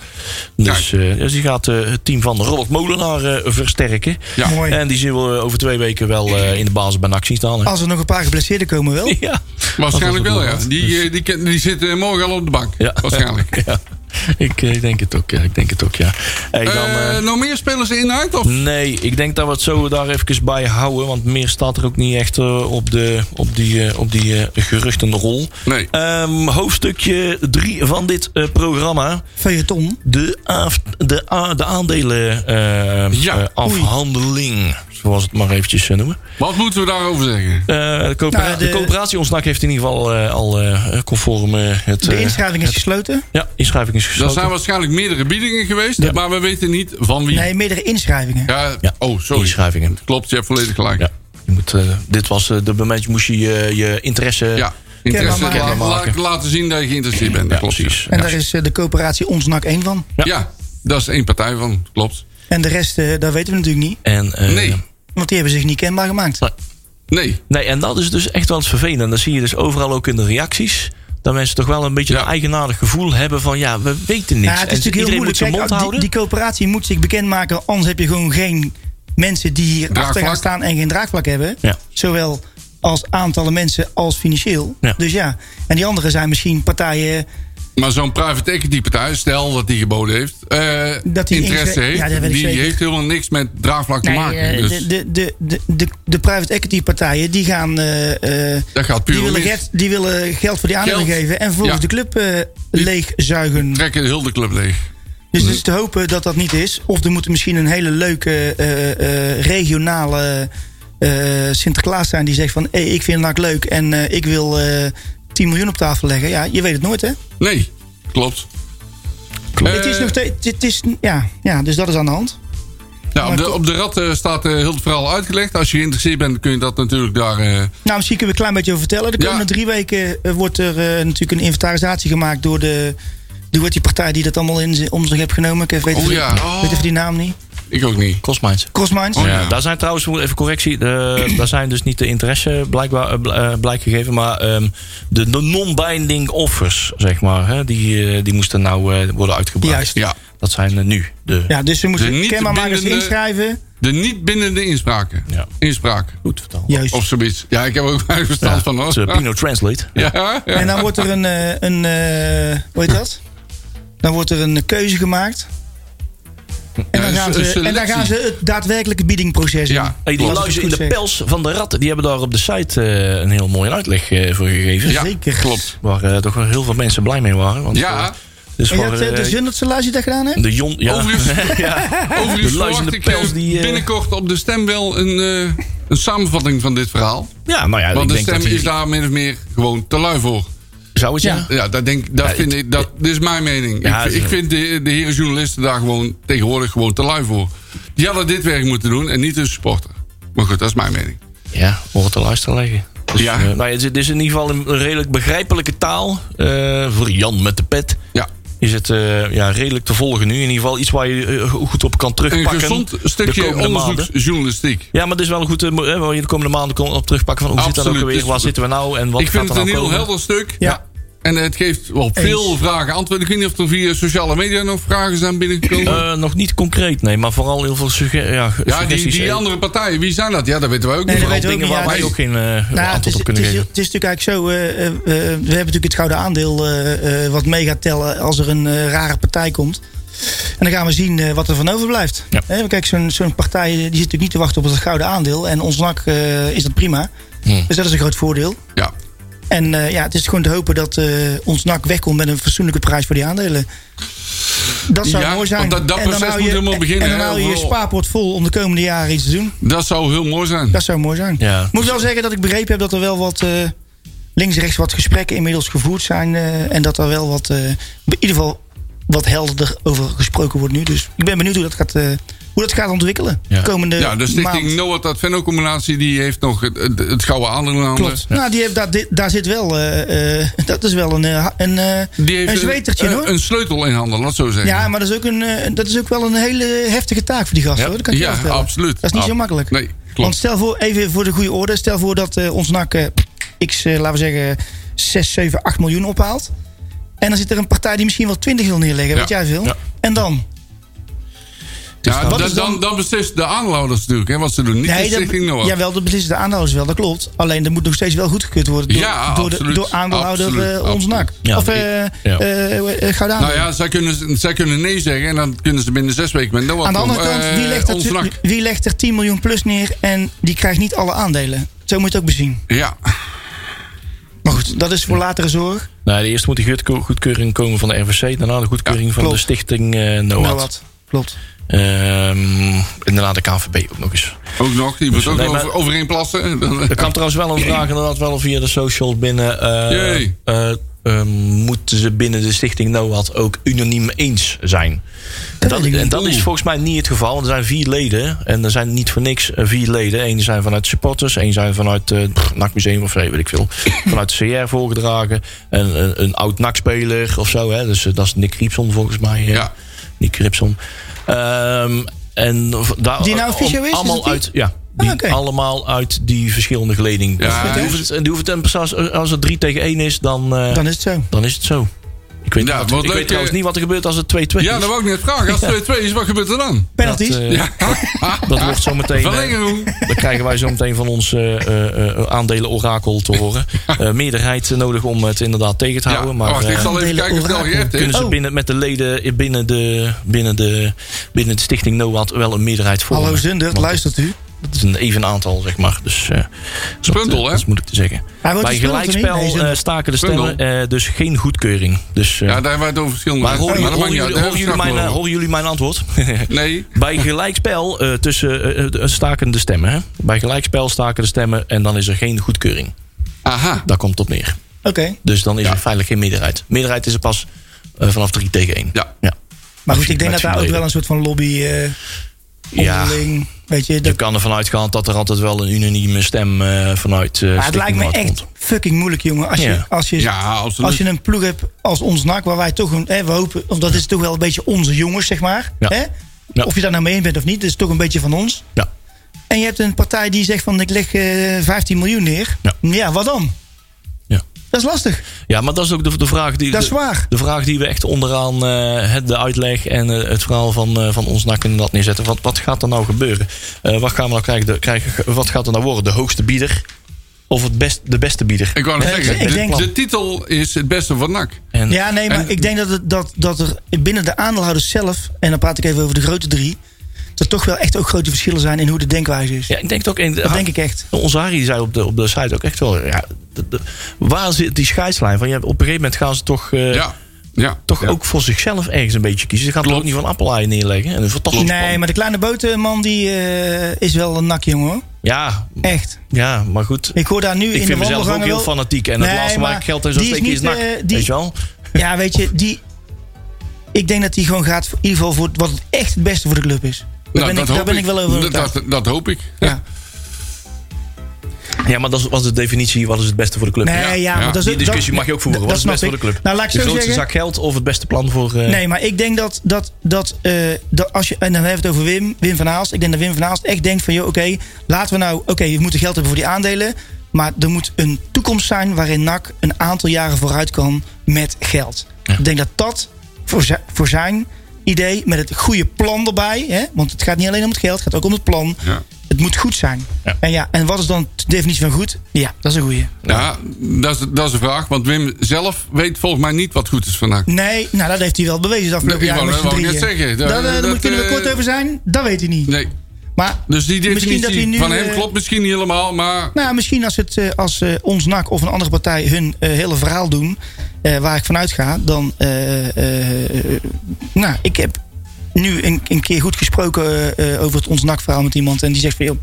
S4: Dus, eh, dus die gaat eh, het team van Robert Molenaar eh, versterken.
S6: Ja.
S5: Mooi.
S4: En die zullen we over twee weken wel eh, in de basis bij NAC zien staan. hè?
S5: Als er nog een paar geblesseerden komen
S6: Oh.
S5: wel.
S4: Ja.
S6: Waarschijnlijk wel, ja.
S4: Dus-
S6: Die, eh, die, ken- die zit eh, morgen al op de bank.
S4: Ja.
S6: Waarschijnlijk.
S4: Ja, ik eh, denk het ook, ja. Ik denk het ook, ja. Hey, dan,
S6: Eh,
S4: eh,
S6: nog meer spelers in uit, of?
S4: nee, ik denk dat we het zo daar even bij houden. Want meer staat er ook niet echt eh, op, de, op die, eh, op die eh, geruchtenrol.
S6: Nee.
S4: Ehm, hoofdstukje 3 van dit eh, programma.
S5: Feuilleton.
S4: De, af, de, a- de aandelen eh,
S6: Ja,
S4: eh,
S6: oei.
S4: afhandeling. Zoals het maar eventjes eh, noemen.
S6: Wat moeten we daarover zeggen?
S4: Eh, de, coöpera-
S5: Nou,
S4: de...
S5: de-
S4: coöperatie ons NAC heeft in ieder geval eh, al eh, conform eh, het...
S5: De
S4: eh,
S5: inschrijving is gesloten.
S4: ja, inschrijving is
S6: Er
S4: gesloten.
S6: zijn waarschijnlijk meerdere biedingen geweest,
S4: Ja.
S6: maar we weten niet van wie.
S5: Nee, meerdere inschrijvingen.
S6: Ja,
S4: Ja.
S6: Oh, sorry.
S4: Inschrijvingen.
S6: Klopt, je hebt volledig gelijk.
S4: Ja. Je moet, eh, dit was eh, de moment, je moest je je, je interesse.
S6: Ja,
S5: Kenbaar
S6: interesse
S5: maken.
S6: laten,
S4: Kenbaar maken.
S6: laten- laten zien dat je geïnteresseerd bent. Dat klopt.
S4: precies.
S5: En
S4: Ja.
S5: daar is eh, de coöperatie Ons NAC één van.
S6: Ja. Ja, dat is één partij van. Klopt.
S5: En de rest, eh, dat weten we natuurlijk niet.
S4: En, eh,
S6: Nee.
S5: Want die hebben zich niet kenbaar gemaakt.
S6: Nee.
S4: nee, en dat is dus echt wel het vervelende. En dat zie je dus overal ook in de reacties. Dat mensen toch wel een beetje
S6: Ja.
S4: een eigenaardig gevoel hebben van ja, we weten niks.
S5: Ja, Nou, het
S4: En
S5: is natuurlijk heel
S4: iedereen
S5: moeilijk.
S4: moet zijn
S5: Kijk,
S4: mond
S5: die,
S4: houden.
S5: die coöperatie moet zich bekendmaken, anders heb je gewoon geen mensen die hier achter
S6: Draagvlak.
S5: gaan staan en geen draagvlak hebben.
S4: Ja.
S5: Zowel als aantallen mensen als financieel.
S4: Ja.
S5: Dus ja, en die anderen zijn misschien partijen
S6: Maar zo'n private equity partij, stel dat die geboden heeft, eh,
S5: Dat die
S6: interesse
S5: inge-
S6: heeft,
S5: Ja, dat weet ik
S6: die
S5: zeker.
S6: heeft helemaal niks met draagvlak te maken.
S5: eh, de,
S6: dus
S5: de, de, de, de, de private equity partijen die gaan. eh, eh,
S6: dat gaat puur
S5: die, willen
S6: mis.
S5: geld, die willen geld voor die aandelen
S6: Geld.
S5: geven en vervolgens de
S6: Ja.
S5: club eh, leegzuigen.
S6: Trekken heel de club leeg.
S5: Dus het is te hopen dat dat niet is. Of er moet misschien een hele leuke eh, eh, regionale eh, Sinterklaas zijn die zegt van... Hey, ik vind NAC leuk en eh, ik wil eh 10 miljoen op tafel leggen. Ja, je weet het nooit hè.
S6: Nee, klopt. Eh,
S5: het is nog steeds... Het is, ja, ja, dus dat is aan de hand.
S6: Nou, op, de, op de rat eh, staat eh, heel het verhaal uitgelegd. Als je geïnteresseerd bent, kun je dat natuurlijk daar... eh,
S5: Nou, misschien kunnen we een klein beetje over vertellen. De
S6: Ja.
S5: komende drie weken eh, wordt er eh, natuurlijk een inventarisatie gemaakt door de... Door die partij die dat allemaal in zi- om zich heeft genomen. Ik weet,
S6: Oh
S5: even, die-
S6: ja, oh.
S5: weet even die naam niet.
S6: ik ook niet.
S4: Crossminds.
S5: Crossminds.
S6: Oh,
S4: Ja,
S6: ja.
S4: daar zijn trouwens, even correctie, eh, daar zijn dus niet de interesse blijkbaar, eh, bl- eh, blijk gegeven, maar ehm, de, de non-binding offers, zeg maar, hè, die, eh, die moesten nou eh, worden uitgebracht.
S5: Juist.
S6: Ja,
S4: Dat zijn eh, nu de...
S5: Ja, dus we
S6: De niet
S5: moeten kenbaarmakers
S6: bindende-
S5: inschrijven.
S6: de niet bindende inspraken.
S4: Ja.
S6: Inspraak.
S4: Goed vertaald.
S5: Juist.
S6: Of zoiets. Ja, ik heb er ook weinig verstand van hoor.
S4: het is, eh, Pino Translate.
S6: Ja, ja.
S5: En dan wordt er een, eh, een eh, hoe heet dat? Dan wordt er een keuze gemaakt. En dan,
S6: Ja,
S5: gaan
S6: een
S5: ze, en dan
S6: selectie.
S5: gaan ze het daadwerkelijke biedingproces
S6: Ja,
S5: in.
S4: Hey, die
S5: Als ik het
S4: luizen in
S5: goed
S4: de
S5: zeg.
S4: pels van de rat, die hebben daar op de site eh, een heel mooie uitleg eh, voor gegeven.
S6: Ja,
S5: Zeker.
S6: klopt.
S4: Waar eh, toch wel heel veel mensen blij mee waren. Want,
S6: Ja.
S4: eh, dus
S5: En
S4: voor,
S5: dat, eh,
S4: eh,
S5: de Zundertse luister dat gedaan heeft?
S4: de Jon... Ja,
S6: Overigens-
S4: ja.
S6: Overigens
S4: de luis in
S6: verwacht
S4: de
S6: ik eh,
S4: pels die... eh,
S6: binnenkort op de stem wel een, eh, een samenvatting van dit verhaal.
S4: ja, nou ja, ik
S6: Want de
S4: denk
S6: stem
S4: dat die,
S6: is daar min of meer gewoon te lui voor.
S4: Zou het ja?
S5: Ja.
S6: Ja, dat, denk, dat
S4: Ja,
S6: vind
S4: het-
S6: ik, dat, dit is mijn mening.
S4: Ja,
S6: ik,
S4: het is-
S6: ik vind de, de heren journalisten daar gewoon tegenwoordig gewoon te lui voor. Die hadden dit werk moeten doen en niet een supporter. Maar goed, dat is mijn mening.
S4: Ja, om het te luisteren leggen. Dus,
S6: Ja.
S4: ja. nou ja, dit is in ieder geval een redelijk begrijpelijke taal. eh, voor Jan met de pet
S6: Ja.
S4: is het eh, ja, redelijk te volgen nu. In ieder geval iets waar je eh, goed op kan
S6: Een
S4: terugpakken.
S6: gezond
S4: de
S6: stukje
S4: komende maanden.
S6: onderzoeksjournalistiek.
S4: Ja, maar het is wel een goed eh, mo- eh, waar je de komende maanden kon op terugpakken. Van hoe zit dat
S6: Absoluut,
S4: ook alweer?
S6: dus-
S4: Waar zitten we nou? En wat
S6: ik
S4: gaat
S6: vind
S4: er
S6: het een
S4: nou
S6: heel
S4: komen?
S6: helder stuk.
S5: Ja.
S6: En het geeft wel veel vragen antwoord. Ik weet niet of er via sociale media nog vragen zijn binnengekomen.
S4: Eh, nog niet concreet, nee, maar vooral heel veel sugge- ja, ge-
S6: ja, die,
S4: suggesties.
S6: die
S4: eh,
S6: andere partijen, wie zijn dat? Ja, dat weten wij ook
S5: Nee,
S6: niet.
S5: dat weten we ook
S4: dingen
S5: niet,
S4: waar
S5: ja,
S4: wij
S5: nee.
S4: ook geen eh,
S5: Nou, het,
S4: antwoord
S5: is,
S4: op
S5: het,
S4: kunnen
S5: is,
S4: geven.
S5: het is natuurlijk eigenlijk zo, eh, eh, eh, we hebben natuurlijk het gouden aandeel eh, eh, wat mee gaat tellen als er een eh, rare partij komt. En dan gaan we zien eh, wat er van overblijft.
S4: Ja.
S5: Hè, want kijk, zo'n zo'n partij eh, die zit natuurlijk niet te wachten op het gouden aandeel. En ons NAC eh, is dat prima.
S4: Hmm.
S5: Dus dat is een groot voordeel.
S6: Ja.
S5: En eh, ja, het is gewoon te hopen dat eh, ons NAC wegkomt met een fatsoenlijke prijs voor die aandelen. Dat zou
S6: Ja,
S5: mooi zijn.
S6: want dat- dat
S5: En dan
S6: proces
S5: hou
S6: moet helemaal beginnen,
S5: En dan
S6: hè,
S5: hou je je
S6: overal.
S5: spaarpot vol om de komende jaren iets te doen.
S6: Dat zou heel mooi zijn.
S5: Dat zou mooi zijn.
S4: Ja.
S5: Moet wel zeggen dat ik begrepen heb dat er wel wat eh, links en rechts wat gesprekken inmiddels gevoerd zijn. eh, en dat er wel wat, eh, in ieder geval wat helderder over gesproken wordt nu. Dus ik ben benieuwd hoe dat gaat, eh, hoe dat gaat ontwikkelen.
S4: Ja.
S5: De komende
S6: ja, de stichting
S5: eh, maand.
S6: Noah Adveno Combinatie die heeft nog het, het, het gouden aandeel in handen.
S5: Klopt. Nou, die heeft, daar, dit- daar zit wel, eh, eh, dat is wel een, eh, ha- een, eh,
S6: Die heeft
S5: een zwetertje
S6: een, eh,
S5: hoor.
S6: een sleutel in handen, laat het zo zeggen.
S5: ja, maar dat is, ook een, eh, dat is ook wel een hele heftige taak voor die gast
S4: Ja.
S5: hoor. Dat kan ik je
S6: Ja,
S5: wel vertellen.
S6: absoluut.
S5: Dat is niet
S6: Ab-
S5: zo makkelijk.
S6: Nee,
S5: Want
S6: klopt.
S5: stel voor, even voor de goede orde, stel voor dat eh, ons NAC eh, x, eh, laten we zeggen, 6, 7, 8 miljoen ophaalt. En dan zit er een partij die misschien wel 20 wil neerleggen,
S6: Ja.
S5: weet jij veel.
S4: Ja.
S5: En dan?
S6: Ja,
S5: wat
S6: dat-
S5: is dan-
S6: dan, dan beslist de aanhouders natuurlijk, hè, wat ze doen. Niet de stichting
S5: dat,
S6: Noah.
S5: jawel, dat beslissen de aandeelhouders wel, dat klopt. Alleen dat moet nog steeds wel goedgekeurd worden door,
S6: Ja,
S5: door, de,
S6: absoluut.
S5: door aandeelhouder
S6: Absoluut,
S5: eh, ons
S6: absoluut.
S5: NAC.
S4: Ja,
S5: of
S4: ik-
S5: eh eh
S4: ja.
S5: eh, Gouda.
S6: Nou ja, zij kunnen, zij kunnen nee zeggen en dan kunnen ze binnen zes weken met Noah
S5: Aan de andere
S6: komen.
S5: kant,
S6: Eh,
S5: wie legt,
S6: ons
S5: dat,
S6: NAC.
S5: wie legt er 10 miljoen plus neer en die krijgt niet alle aandelen? Zo moet je het ook bezien.
S6: Ja,
S5: Maar goed, dat is voor latere zorg.
S4: Nou, eerst moet die goedke- goedkeuring komen van de RVC. Daarna de goedkeuring van
S5: klopt.
S4: de stichting eh
S5: Nou
S4: NOAD.
S5: wat, klopt.
S4: Ehm, en daarna de KNVB ook nog eens.
S6: ook nog. Die wordt ook
S4: nee,
S6: nog
S4: maar-
S6: over, overheen plassen.
S4: Er kwam trouwens wel een vraag inderdaad wel via de socials binnen. eh,
S6: Jee.
S4: eh, ehm, moeten ze binnen de stichting NOAD ook unaniem eens zijn? En dat,
S5: weet ik
S4: en
S5: niet.
S4: dat is volgens mij niet het geval. Want er zijn vier leden. En er zijn niet voor niks eh, vier leden. Eén zijn vanuit supporters. één zijn vanuit eh, pff, NAC Museum of zo, weet ik veel. Vanuit de CR voorgedragen. En een, een oud NAC-speler of zo. Hè. Dus eh, dat is Nick Griepson volgens mij. eh.
S6: Ja.
S4: Nick Griepson. Ehm, en v- daar,
S5: Die nou
S4: om-
S5: fysio is, is
S4: Allemaal
S5: het die? Ah,
S4: uit, ja, die
S5: oké.
S4: allemaal uit die verschillende geleding.
S6: Ja,
S4: En die hoeven het- en die hoeven het, als, als het 3 tegen 1 is, dan, eh,
S5: Dan is het zo.
S4: dan is het zo. Ik weet,
S6: Ja,
S4: niet,
S6: wat
S4: wat- ik
S6: leuk,
S4: weet trouwens
S6: eh,
S4: niet wat er gebeurt als het 2-2
S6: Ja,
S4: is.
S6: dat wou ik net vragen. Als 2-2 is, wat gebeurt er dan?
S5: Penalties?
S4: Dat, eh, dat wordt zo meteen. eh,
S5: Nou,
S6: Verlenging.
S4: dan krijgen wij zo meteen van ons eh, eh, eh, aandelen-orakel te horen. Eh, meerderheid nodig om het inderdaad tegen te
S6: Ja, Oh,
S4: houden. maar,
S6: wacht, ik
S4: eh,
S6: zal even kijken of het al gered
S4: kunnen
S6: is.
S4: ze
S5: Oh.
S4: binnen, met de leden binnen de, binnen de, binnen de stichting NOAD wel een meerderheid vormen.
S5: Hallo Zundert,
S4: Want-
S5: luistert u?
S4: Dat is een even aantal, zeg maar. Dus, eh,
S6: Spruntel,
S4: dat,
S6: hè?
S4: Dat is moeilijk te zeggen.
S5: Hij wordt
S4: Bij
S5: gespeeld,
S4: gelijkspel
S5: hè? Deze-
S4: eh, staken de
S6: Spruntel.
S4: stemmen eh, dus geen goedkeuring. Dus, eh,
S6: Ja, daar waren het over verschillende.
S4: maar horen
S6: dat
S4: jullie-
S6: maakt
S4: horen
S6: niet uit.
S4: jullie-
S6: Daar
S4: horen jullie
S6: hebben we
S4: mijn,
S6: het
S4: eh,
S6: straks
S4: horen jullie mijn antwoord?
S6: wel over. Nee.
S4: Bij gelijkspel eh, tussen eh, eh, staken de stemmen. Hè? Bij gelijkspel staken de stemmen en dan is er geen goedkeuring.
S6: Aha.
S4: Daar komt het op neer.
S5: Oké,
S4: Dus dan is
S6: Ja.
S4: er feitelijk geen meerderheid. Meerderheid is er pas eh, vanaf 3 tegen 1.
S6: Ja.
S4: ja.
S5: maar goed, ik denk dat daar ook
S4: Maximum.
S5: wel een soort van lobby eh
S4: Ja.
S5: onderling, weet je,
S4: Je
S5: dat,
S4: kan ervan uitgaan dat er altijd wel een unanieme stem eh, vanuit. eh
S5: maar het lijkt me
S4: Stichting
S5: echt
S4: Maat
S5: fucking moeilijk, jongen. Als je,
S4: Ja.
S5: als je
S6: Ja, absoluut.
S5: Als je een ploeg hebt als ons NAC, waar wij toch een, hè, we hopen, of dat is toch wel een beetje onze jongens, zeg maar.
S4: Ja.
S5: Hè?
S4: Ja.
S5: Of je daar nou mee eens bent of niet, dat is toch een beetje van ons.
S4: komt. Ja.
S5: En je hebt een partij die zegt van ik leg eh, 15 miljoen neer.
S4: Ja.
S5: wat dan?
S4: Ja.
S5: Dat is lastig.
S4: ja, maar dat is ook de, de vraag die.
S5: Dat is
S4: de-
S5: waar.
S4: De vraag die we echt onderaan eh, het, de uitleg en eh, het verhaal van, eh, van ons nak en dat neerzetten. Wat, wat gaat er nou gebeuren? Eh, wat gaan we nou krijgen, de- krijgen? Wat gaat er nou worden? De hoogste bieder? Of het best, de beste bieder?
S6: Ik wou net
S5: Nee,
S6: zeggen,
S5: ik
S6: de-
S5: denk-
S6: de titel is het beste van NAC.
S4: En,
S5: Ja, nee, maar
S6: en-
S5: ik denk dat, het, dat, dat er binnen de aandeelhouders zelf, en dan praat ik even over de grote drie, dat toch wel echt ook grote verschillen zijn in hoe de denkwijze is.
S4: ja, ik denk het ook. En,
S5: Dat denk ik echt.
S4: Onze Harry zei op de, op de site ook echt wel. Ja, de- de- waar zit die scheidslijn? Van, ja, op een gegeven moment gaan ze toch. eh,
S6: Ja. ja.
S4: toch
S6: Ja.
S4: ook voor zichzelf ergens een beetje kiezen. Ze gaat er
S6: Klopt.
S4: ook niet van appelei neerleggen. En een fantastisch
S5: Nee,
S4: plan.
S5: maar de kleine botenman die eh, is wel een nak, jongen. hoor.
S4: Ja,
S5: Echt.
S4: ja, maar goed. Ik,
S5: Ik hoor daar nu in de
S4: vind mezelf ook
S5: wandelgangen
S4: heel
S5: wel-
S4: fanatiek. En
S5: Nee,
S4: het laatste
S5: maar
S4: waar ik geld in zou
S5: die is
S4: steken is
S5: niet,
S4: nak.
S5: eh, die-
S4: Weet je wel?
S5: Ja, weet je, die. Ik denk dat die gewoon gaat voor, in ieder geval voor wat het echt het beste voor de club is. Daar,
S6: Nou,
S5: ben,
S6: dat
S5: ik, daar
S6: hoop
S5: ben ik wel over.
S6: Dat,
S5: overtuigd.
S6: dat, dat hoop ik.
S5: ja.
S4: Ja, maar dat is- was de definitie. Wat is het beste voor de club?
S5: Nee, ja, maar
S6: ja.
S5: dat is
S4: Die discussie
S5: dat-
S4: mag je ook voeren.
S5: dat-
S4: Wat is het
S5: dat
S4: beste voor
S5: snap
S4: de club?
S5: ik. Nou, laat ik
S4: de
S5: zo
S4: grootste
S5: zeggen.
S4: zak geld of het beste plan voor... eh,
S5: Nee, maar ik denk dat. dat, dat, eh, dat als je, en dan hebben we het over Wim, Wim van Aalst. Ik denk dat Wim van Aalst echt denkt: van joh, oké, laten we nou. Oké, we moeten geld hebben voor die aandelen. Maar er moet een toekomst zijn waarin NAC een aantal jaren vooruit kan met geld.
S4: Ja.
S5: Ik denk dat dat voor, zi- voor zijn idee, met het goede plan erbij. Hè, want het gaat niet alleen om het geld, het gaat ook om het plan.
S6: Ja.
S5: Het moet goed zijn.
S4: Ja.
S5: En, ja, en wat is dan de definitie van goed? Ja, dat is een goeie.
S6: Ja, dat is, dat is de vraag. Want Wim zelf weet volgens mij niet wat goed is vandaag.
S5: Nee, nou dat heeft hij wel bewezen de afgelopen
S6: Nee, ik
S5: jaren
S6: wou-
S5: met z'n
S6: wou ik
S5: drieën.
S6: net zeggen.
S5: Dat,
S6: Dat-
S5: eh, daar
S6: dat,
S5: kunnen we
S6: eh,
S5: kort over zijn, dat weet hij niet.
S6: Nee.
S5: Maar
S6: Dus die
S5: Misschien dat hij
S6: definitie
S5: nu,
S6: van hem
S5: eh,
S6: klopt misschien niet helemaal. Maar
S5: Nou, misschien als, het, eh, als eh, ons NAC of een andere partij hun eh, hele verhaal doen, eh, waar ik vanuit ga, dan. eh, eh, eh, nou, ik heb nu een, een keer goed gesproken eh, eh, over het ons NAC verhaal met iemand. En die zegt van, joh,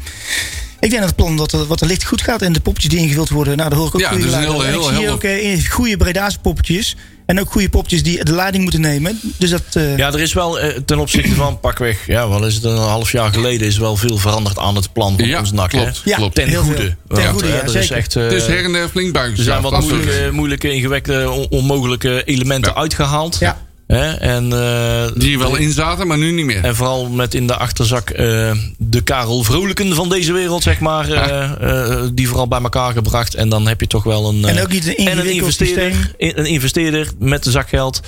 S5: ik denk dat het plan dat er, wat er licht goed gaat en de poppetjes die ingevuld worden, nou, daar hoor ik ook
S6: Ja,
S5: goede
S6: dus een
S5: geluiden.
S6: heel-
S5: En
S6: heel
S5: Ik zie ook eh, goede Breda's poppetjes en ook goede poppetjes die de leiding moeten nemen. Dus dat. eh,
S4: Ja, er is wel eh, ten opzichte van pakweg, ja, wat is het, een half jaar geleden is wel veel veranderd aan het plan van
S6: Ja,
S4: ons nak. hè?
S6: klopt, Ja, klopt.
S4: Ten
S5: heel
S4: goede.
S5: veel.
S4: Want,
S5: goede,
S4: eh,
S5: ja,
S4: er is
S5: zeker.
S4: echt, eh,
S6: het is Dus her en der flink
S4: Er zijn wat
S6: buigengeschaafd. absoluut.
S4: moeilijke, moeilijke ingewekte, on- onmogelijke elementen
S6: Ja.
S4: uitgehaald.
S5: Ja.
S4: Hè? En, eh,
S6: Die er wel in zaten, maar nu niet meer.
S4: En vooral met in de achterzak eh, de Karel Vrolijken van deze wereld, zeg maar. eh, eh, die vooral bij elkaar gebracht. En dan heb je toch wel een. eh,
S5: En ook niet een ingewikkeld systeem.
S4: investeerder, i- een investeerder met een zak geld.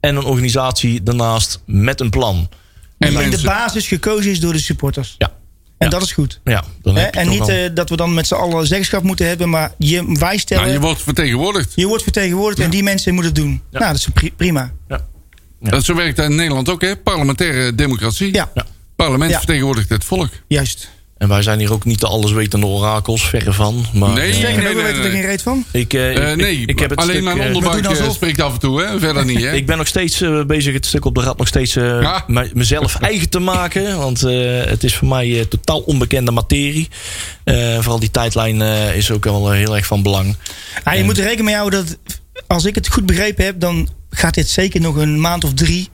S4: en een organisatie daarnaast met een plan.
S6: En
S5: die in de
S6: mensen.
S5: basis gekozen is door de supporters.
S4: Ja.
S5: En
S4: Ja.
S5: dat is goed.
S4: Ja, dan
S5: Hè,
S4: heb je
S5: en
S4: toch
S5: niet
S4: wel-
S5: eh, dat we dan met z'n allen zeggenschap moeten hebben, maar je, wij stellen.
S6: Nou, je
S5: je,
S6: wordt vertegenwoordigd.
S5: wordt vertegenwoordigd en die mensen moeten het doen. Nou, dat is pri- prima.
S4: Ja.
S6: Dat, zo werkt dat in Nederland ook, hè? Parlementaire democratie.
S5: Ja,
S4: Ja.
S6: Parlement
S5: Ja.
S6: vertegenwoordigt het volk.
S5: juist.
S4: En wij zijn hier ook niet de alleswetende orakels, verre van. Maar,
S6: Nee,
S4: eh,
S5: Zeker,
S6: nee,
S5: we
S6: nee,
S5: weten er
S6: nee.
S5: geen reet van.
S4: ik, eh, ik-
S6: Eh,
S4: ik-
S6: nee,
S4: ik, heb het
S6: alleen
S4: stuk,
S6: mijn
S4: eh,
S5: we
S6: onderbuik
S5: doen
S6: eh,
S5: alsof.
S6: spreekt af en toe, hè? Verder niet, hè?
S4: Ik ben nog steeds eh, bezig het stuk op de rad nog steeds eh,
S6: Ja.
S4: me- mezelf eigen te maken. Want eh, het is voor mij eh, totaal onbekende materie. Eh, vooral die tijdlijn eh, is ook wel eh, heel erg van belang.
S5: Ja, Ah, je moet er rekening mee houden dat als ik het goed begrepen heb, dan gaat dit zeker nog een maand of drie.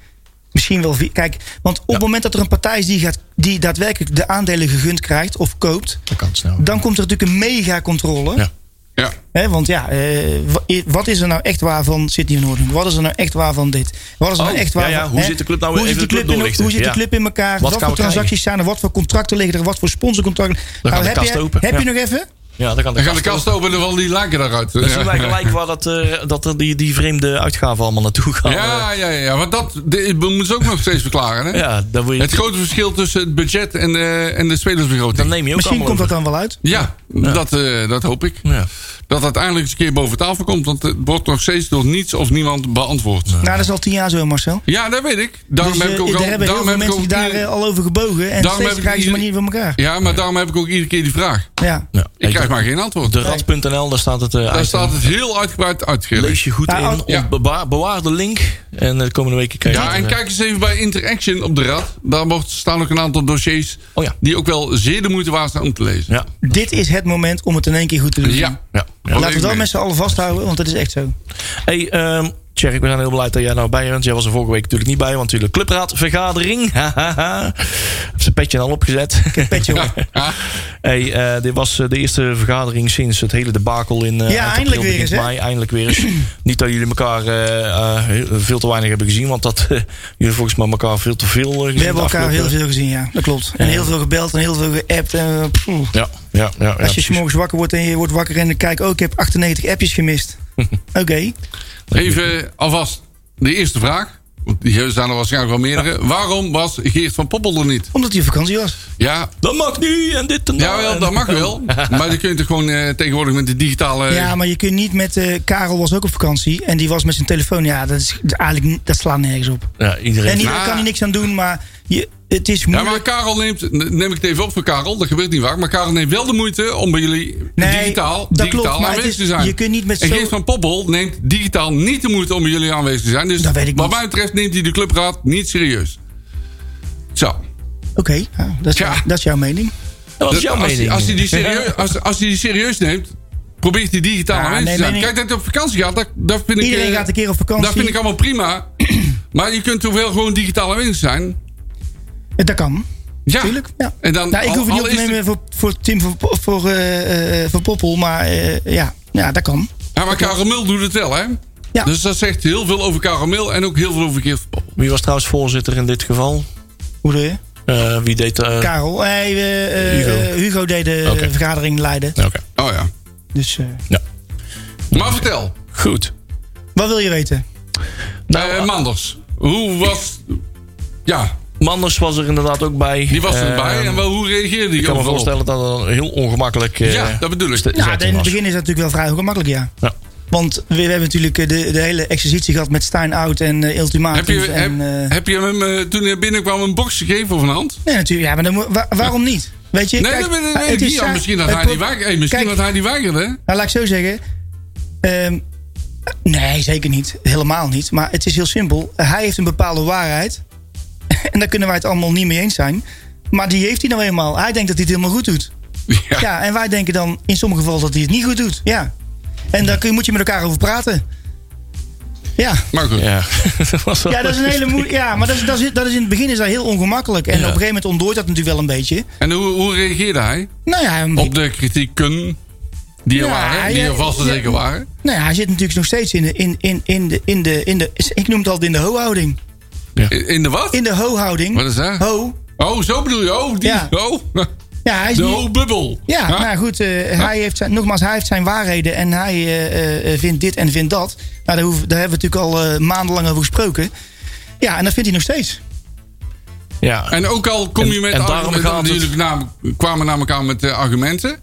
S5: Misschien wel vier. Kijk, want op het moment dat er een partij is die, gaat, die daadwerkelijk de aandelen gegund krijgt of koopt,
S4: Dat kan snel.
S5: dan komt er natuurlijk een mega controle.
S4: Ja.
S6: Ja.
S5: Hè, want ja, eh, wa- i- wat is er nou echt waar van Sydney van Noordhoek? Wat is er nou echt waar van dit? Wat is er
S4: Oh,
S5: nou echt
S4: ja,
S5: waar
S4: ja,
S5: van-
S4: hoe
S5: hè?
S4: zit de club nou
S5: hoe
S4: even
S5: zit
S4: de club
S5: in,
S4: doorlichten?
S5: Hoe zit de
S4: Ja.
S5: club in elkaar?
S4: Wat
S5: Wat,
S4: gaan
S5: voor
S4: we krijgen?
S5: transacties zijn er? Wat voor contracten liggen er? Wat voor sponsorcontracten? Nou,
S4: Dan gaat de
S5: heb
S4: kast
S5: je,
S4: open,
S5: Heb
S4: ja.
S5: je nog even?
S4: Ja, dan kan de
S6: Dan gaat de
S4: kast
S6: kast openen van die lijken daaruit.
S4: Dan zien wij gelijk waar dat, eh, dat er die, die vreemde uitgaven allemaal naartoe gaan.
S6: Ja, ja, ja. Want dat de- we moeten ze ook nog steeds verklaren. Hè?
S4: Eh, ja dan, wil je,
S6: Het grote verschil tussen het budget en, eh, en de
S4: dan
S6: spelersbegroting.
S4: neem je ook
S5: Misschien komt
S4: allemaal
S5: dat dan wel uit.
S6: Ja, Dat, eh, dat hoop ik.
S4: over. Ja.
S6: Dat dat eindelijk eens een keer boven tafel komt. Want het wordt nog steeds door niets of niemand beantwoord.
S5: Nou, dat is al tien jaar zo, Marcel.
S6: Ja, dat weet ik. Daarom
S5: dus,
S6: heb ik
S5: eh,
S6: ook
S5: daar
S6: al,
S5: hebben heel
S6: daarom
S5: veel
S6: heb ik
S5: mensen die
S6: ook
S5: daar eh,
S6: ieder-
S5: al over gebogen. En
S6: Daarom
S5: steeds
S6: heb ik
S5: krijgen ze maar
S6: ieder-
S5: niet voor elkaar.
S6: Ja, maar daarom heb ik ook iedere keer die vraag.
S5: Ja.
S4: Ja.
S6: Ik
S4: Hey,
S6: krijg
S4: de-
S6: maar geen antwoord.
S4: De rad.nl, daar staat het eh
S6: Daar
S4: item.
S6: staat het heel uitgebreid uitgelegd.
S4: Lees je goed
S5: Ja,
S4: in.
S5: als-
S4: Ontbewaar- Bewaar, de link. En eh, de komende weken krijg je
S6: Ja,
S4: het,
S6: en
S4: eh,
S6: kijk eens even bij Interaction op de rad. Daar wordt- staan ook een aantal dossiers
S4: Oh ja.
S6: die ook wel zeer de moeite waard zijn om te lezen.
S4: Ja.
S5: Dit is het moment om het in één keer goed te doen.
S6: Oh, Ja.
S4: ja. ja.
S5: Laten we dat met z'n allen vasthouden, want dat is echt zo.
S4: Hey, ehm Tjerk, we zijn heel blij dat jij nou bij bent. Jij was er vorige week natuurlijk niet bij, want natuurlijk clubraadvergadering. Hahaha. Heb zijn petje al opgezet.
S5: Petje op.
S6: Ah,
S4: Hey, eh, dit was eh, de eerste vergadering sinds het hele debakel in. eh,
S5: Ja,
S4: eind
S5: eindelijk
S4: april,
S5: weer
S4: begin
S5: eens, hè?
S4: Mei, eindelijk weer eens. Niet dat jullie elkaar eh, eh, heel- veel te weinig hebben gezien, want dat eh, jullie volgens mij elkaar veel te veel eh, gezien.
S5: We hebben
S4: de
S5: elkaar heel
S4: afgelopen-
S5: veel gezien, ja. Dat klopt. En heel veel gebeld en heel veel geappt. En, eh, pff.
S4: Ja, ja, ja. ja,
S5: als je
S4: precies.
S5: 's morgens wakker wordt en je wordt wakker en kijk, oh, ik heb 98 appjes gemist. Oké.
S6: Even eh, alvast de eerste vraag. Want die zijn er waarschijnlijk wel meerdere. Waarom was Geert van Poppel er niet?
S5: Omdat hij op vakantie was.
S6: Ja,
S4: Dat mag nu en dit en dat.
S6: jawel,
S4: en-
S6: dat mag wel. Maar je kunt er gewoon eh, tegenwoordig met de digitale...
S5: Ja, maar je kunt niet met. eh, Karel was ook op vakantie en die was met zijn telefoon. Ja, dat, is, dat eigenlijk, niet- dat slaat nergens op.
S4: Ja, iedereen.
S5: En hier
S6: Ja. Ah.
S5: kan hij niks aan doen, maar je, het is
S6: Ja,
S5: moeilijk.
S6: maar Karel neemt, neem ik het even op voor Karel, dat gebeurt niet vaak, maar Karel neemt wel de moeite om bij jullie
S5: Nee,
S6: digitaal,
S5: dat
S6: digitaal
S5: klopt, maar het
S6: aanwezig
S5: is-
S6: te zijn.
S5: je kunt niet met
S6: en
S5: zo-
S6: Geert van Poppel neemt digitaal niet de moeite om bij jullie aanwezig te zijn. Dus
S5: Dat weet ik
S6: wat
S5: niet.
S6: mij betreft neemt hij de clubraad niet serieus. Zo.
S5: Oké, ja, dat, is
S6: Ja.
S5: jou- dat is jouw mening.
S4: dat was
S6: Dat-
S4: jouw
S6: als,
S4: mening.
S6: hij- als hij die serieus, als, als hij die serieus neemt, probeert hij digitaal
S5: Ja,
S6: aanwezig
S5: nee,
S6: te zijn.
S5: nee, nee.
S6: Kijk, dat hij op vakantie gaat, dat, dat vind ik...
S5: Iedereen
S6: eh,
S5: gaat een keer op vakantie.
S6: Dat vind ik allemaal prima. maar je kunt toch wel gewoon digitaal aanwezig zijn?
S5: Eh, Dat kan.
S6: Ja.
S5: Tuurlijk, ja.
S6: En dan,
S5: nou, ik
S6: al-
S5: hoef het
S6: al
S5: niet op
S6: is
S5: te
S6: de-
S5: nemen voor, voor Tim voor, voor, eh, eh, voor Poppel, maar eh, ja. ja, dat kan.
S6: Ja, maar Karamel doet het wel, hè?
S5: Ja.
S6: Dus dat zegt heel veel over Karamel en ook heel veel over Geert van Poppel.
S4: Wie was trouwens voorzitter in dit geval?
S5: Hoe doe je?
S4: Eh, wie deed. eh
S5: Karel. Hey, eh, eh,
S4: Hugo.
S5: Hugo. deed de
S4: Oké.
S5: vergadering leiden.
S4: Oké.
S6: Oh ja.
S5: Dus eh,
S6: Maar vertel,
S4: Goed.
S5: wat wil je weten?
S4: Nou,
S6: eh, Manders, hoe was... Ja,
S4: Manders was er inderdaad ook bij.
S6: die was erbij
S4: Eh,
S6: en wel, hoe reageerde
S4: Ik
S6: die
S4: kan me
S6: overal? op?
S4: voorstellen dat dat een heel ongemakkelijk. eh,
S6: Ja, dat bedoel ik.
S4: st-
S5: Ja,
S4: zetting
S5: in het
S4: was.
S5: begin is dat natuurlijk wel vrij gemakkelijk, ja.
S4: Ja.
S5: Want we, we hebben natuurlijk eh, de, de hele exercitie gehad met Stijn Oud en eh
S6: Heb
S5: Ultimatums.
S6: je, heb,
S5: en, eh,
S6: heb je hem eh, toen hij binnenkwam een box gegeven of een hand?
S5: Nee, natuurlijk. Ja, maar dan, moet- wa- waarom niet? Weet je,
S6: Nee,
S5: kijk, eh,
S6: nee, nee,
S5: het
S6: nee,
S5: is
S6: niet. Ja,
S5: zaak-
S6: misschien dat
S5: het
S6: hij
S5: pro-
S6: die weigerde. Hey, misschien
S5: Kijk,
S6: dat hij die weigerde. hè?
S5: Nou, laat ik zo zeggen. Ehm, nee, zeker niet. Helemaal niet. Maar het is heel simpel. Hij heeft een bepaalde waarheid. En daar kunnen wij het allemaal niet mee eens zijn. Maar die heeft hij nou eenmaal. Hij denkt dat hij het helemaal goed doet.
S6: Ja.
S5: Ja, en wij denken dan in sommige gevallen dat hij het niet goed doet. Ja. En daar kun je, moet je met elkaar over praten. Ja.
S6: Maar goed.
S4: Ja, dat was wel
S5: Ja, dat is een hele moe- ja maar dat is, dat, is, dat is in het begin is dat heel ongemakkelijk. En
S4: Ja.
S5: op een gegeven moment ontdooit dat natuurlijk wel een beetje.
S6: En hoe, hoe reageerde hij
S5: Nou ja, een-
S6: op de kritieken die er
S5: Ja,
S6: waren? Die
S5: ja,
S6: er vast en
S5: ja.
S6: zeker waren.
S5: Nou ja, hij zit natuurlijk nog steeds in de, in, in, in de, in de, in de ik noem het altijd in de ho-houding.
S6: In in de wat?
S5: In de ho-houding.
S6: Wat is dat?
S5: Ho.
S6: Oh, zo bedoel je? Oh, die.
S5: Ja.
S6: Oh.
S5: Ja, hij is
S6: De
S5: niet-
S6: hoogbubbel.
S5: ja, nou goed, eh, hij heeft zijn, nogmaals, hij heeft zijn waarheden en hij eh, eh, vindt dit en vindt dat. Nou, daar, hoeven- daar hebben we natuurlijk al eh, maandenlang over gesproken. Ja, en dat vindt hij nog steeds.
S4: Ja.
S6: En ook al kom je
S4: En-
S6: met
S4: en daarom
S6: argumenten,
S4: gaat het-
S6: natuurlijk nam- kwamen naar elkaar met eh, argumenten.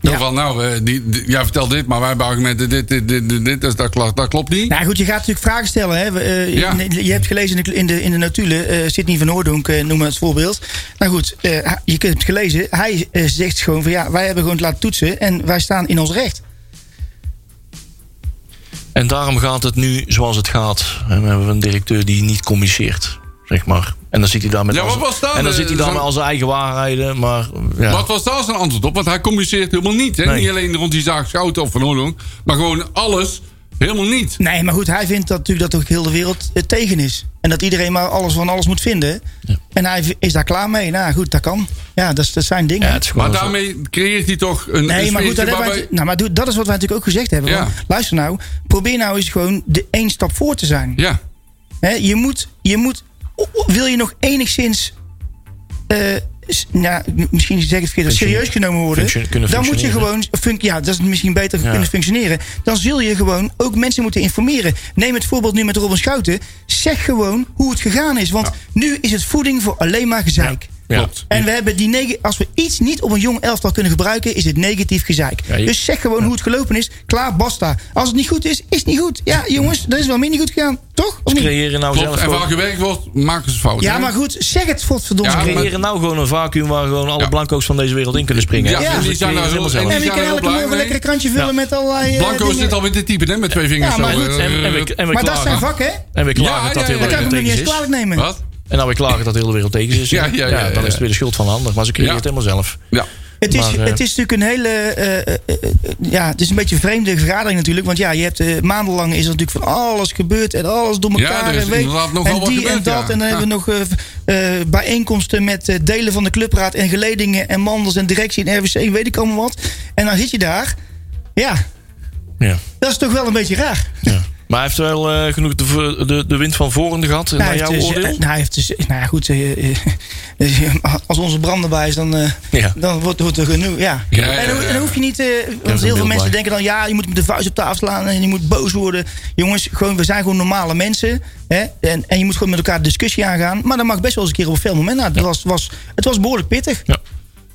S6: Dan
S5: Ja.
S6: van, nou, eh, die, die- jij vertelt dit, maar wij hebben argumenten, dit, dit, dit, dit, dit, dus dat, kla- dat klopt niet.
S5: Nou goed, je gaat natuurlijk vragen stellen. Hè. We, eh,
S6: Ja.
S5: je- Je hebt gelezen in de, in de, in de notulen, eh Sidney van Hoordonk eh, noem maar als voorbeeld. Nou goed, eh, je kunt het gelezen. Hij eh, zegt gewoon van ja, wij hebben gewoon het laten toetsen en wij staan in ons recht.
S4: En daarom gaat het nu zoals het gaat. En we hebben een directeur die niet communiceert, zeg maar. En dan zit hij daar met,
S6: Ja,
S4: al
S6: wat
S4: zijn-
S6: was dat?
S4: en dan
S6: Eh,
S4: zit hij daar
S6: zo'n-
S4: met al zijn eigen waarheden. Maar ja.
S6: Wat was daar zijn antwoord op? Want hij communiceert helemaal niet. Hè?
S4: Nee.
S6: Niet alleen rond die zaak Schouten of Van Oorlog, maar gewoon alles helemaal niet.
S5: Nee, maar goed, hij vindt dat natuurlijk dat ook heel de wereld eh, tegen is. En dat iedereen maar alles van alles moet vinden. En hij v- is daar klaar mee. Nou goed, dat kan. Ja, dat, is- dat zijn dingen.
S4: Ja, het is gewoon
S6: Maar
S4: zo.
S6: daarmee creëert hij toch een,
S5: Nee,
S6: een
S5: maar goed, dat,
S6: sfeertje
S5: hebben wij,
S6: waarbij-
S5: nou, maar doe- dat is wat wij natuurlijk ook gezegd hebben.
S6: Ja.
S5: Want, luister nou, probeer nou eens gewoon de één stap voor te zijn.
S6: Ja,
S5: Hè, je moet, je moet, o- o- wil je nog enigszins eh, s- ja, m- misschien zeg ik het verkeerd,
S4: Functione-
S5: serieus genomen worden.
S4: functio- kunnen
S5: Dan moet je
S4: functioneren.
S5: gewoon, func- ja, dat is misschien beter
S4: Ja.
S5: kunnen functioneren. Dan zul je gewoon ook mensen moeten informeren. Neem het voorbeeld nu met Robin Schouten. Zeg gewoon hoe het gegaan is. Want nu is het voeding voor alleen maar gezeik.
S4: Ja.
S6: Klopt.
S5: En we hebben die neg- als we iets niet op een jong elftal kunnen gebruiken, is het negatief gezeik.
S4: Ja, je-
S5: Dus zeg gewoon hoe het gelopen is. Klaar, basta. Als het niet goed is, is het niet goed. Ja, jongens, dat is wel meer niet goed gegaan. Toch? Of niet?
S4: Creëren nou
S6: Klopt.
S4: zelf
S6: En
S4: gewoon-
S6: waar gewerkt wordt, maken ze fouten.
S5: Ja,
S6: hè?
S5: maar goed, zeg het godverdomme.
S6: Ja,
S5: Ja,
S6: maar-
S4: creëren nou gewoon een vacuüm waar gewoon alle
S6: Ja.
S4: blanco's van deze wereld in kunnen springen.
S6: Ja,
S5: die
S4: Dus
S6: zijn
S4: creëren
S6: daar
S4: ze helemaal
S6: heel-
S4: zelf.
S5: en
S6: die
S5: je
S6: zijn
S5: kan
S6: er heel
S5: elke
S6: blij
S5: morgen
S6: mee.
S5: een lekker krantje vullen
S4: Ja.
S5: met allerlei. eh,
S6: Blanco
S5: dingen.
S6: zit al met de typen, hè? Met twee vingers.
S5: Ja, maar
S6: zo,
S5: goed.
S6: eh,
S4: En, en we, en we
S5: Maar dat
S4: klagen,
S5: zijn vakken, hè?
S4: en we klagen
S6: Ja,
S4: dat
S6: ja,
S4: heel de
S5: Dat
S6: ja,
S5: kan
S4: wereld
S5: ik me niet
S4: tegen
S5: eens
S4: is.
S5: kwalijk nemen.
S6: Wat?
S4: En nou, we klagen dat de hele wereld tegen is.
S6: Ja, ja, ja, ja,
S4: dan is
S6: ja.
S4: het weer de schuld van de ander. Maar ze creëren
S6: Ja.
S4: het helemaal zelf.
S6: Ja.
S5: Het is,
S4: Maar, eh,
S5: het is natuurlijk een hele. eh, eh, eh, ja, het is een beetje een vreemde vergadering natuurlijk. Want ja, je hebt eh, maandenlang is er natuurlijk van alles gebeurd en alles door
S6: Ja,
S5: elkaar.
S6: er is
S5: en weet-
S6: inderdaad nogal
S5: en
S6: wat
S5: die en
S6: gebeurd,
S5: dat.
S6: ja.
S5: En dan hebben we nog eh, eh, bijeenkomsten met eh, delen van de clubraad en geledingen en mandels en directie en RWC, weet ik allemaal wat. En dan zit je daar. Ja,
S4: Ja.
S5: dat is toch wel een beetje raar.
S4: Ja. Maar hij heeft wel eh, genoeg de, v- de, de wind van voren gehad, naar
S5: hij
S4: jouw
S5: heeft dus-
S4: oordeel?
S5: eh, nou, hij heeft dus, nou ja, goed, eh, eh, eh, als onze brand erbij is, dan, eh,
S4: Ja.
S5: dan wordt, wordt er genoeg. Ja.
S6: Ja, ja,
S5: en dan,
S6: ja, ja.
S5: dan hoef je niet, eh,
S4: een
S5: want heel
S4: beeld
S5: veel mensen
S4: bij.
S5: denken dan, ja, je moet met de vuist op tafel slaan en je moet boos worden. Jongens, gewoon, we zijn gewoon normale mensen. Hè? En, en je moet gewoon met elkaar de discussie aangaan. Maar dat mag best wel eens een keer op een fel moment. Nou, het, was, was, het was behoorlijk pittig.
S4: Ja.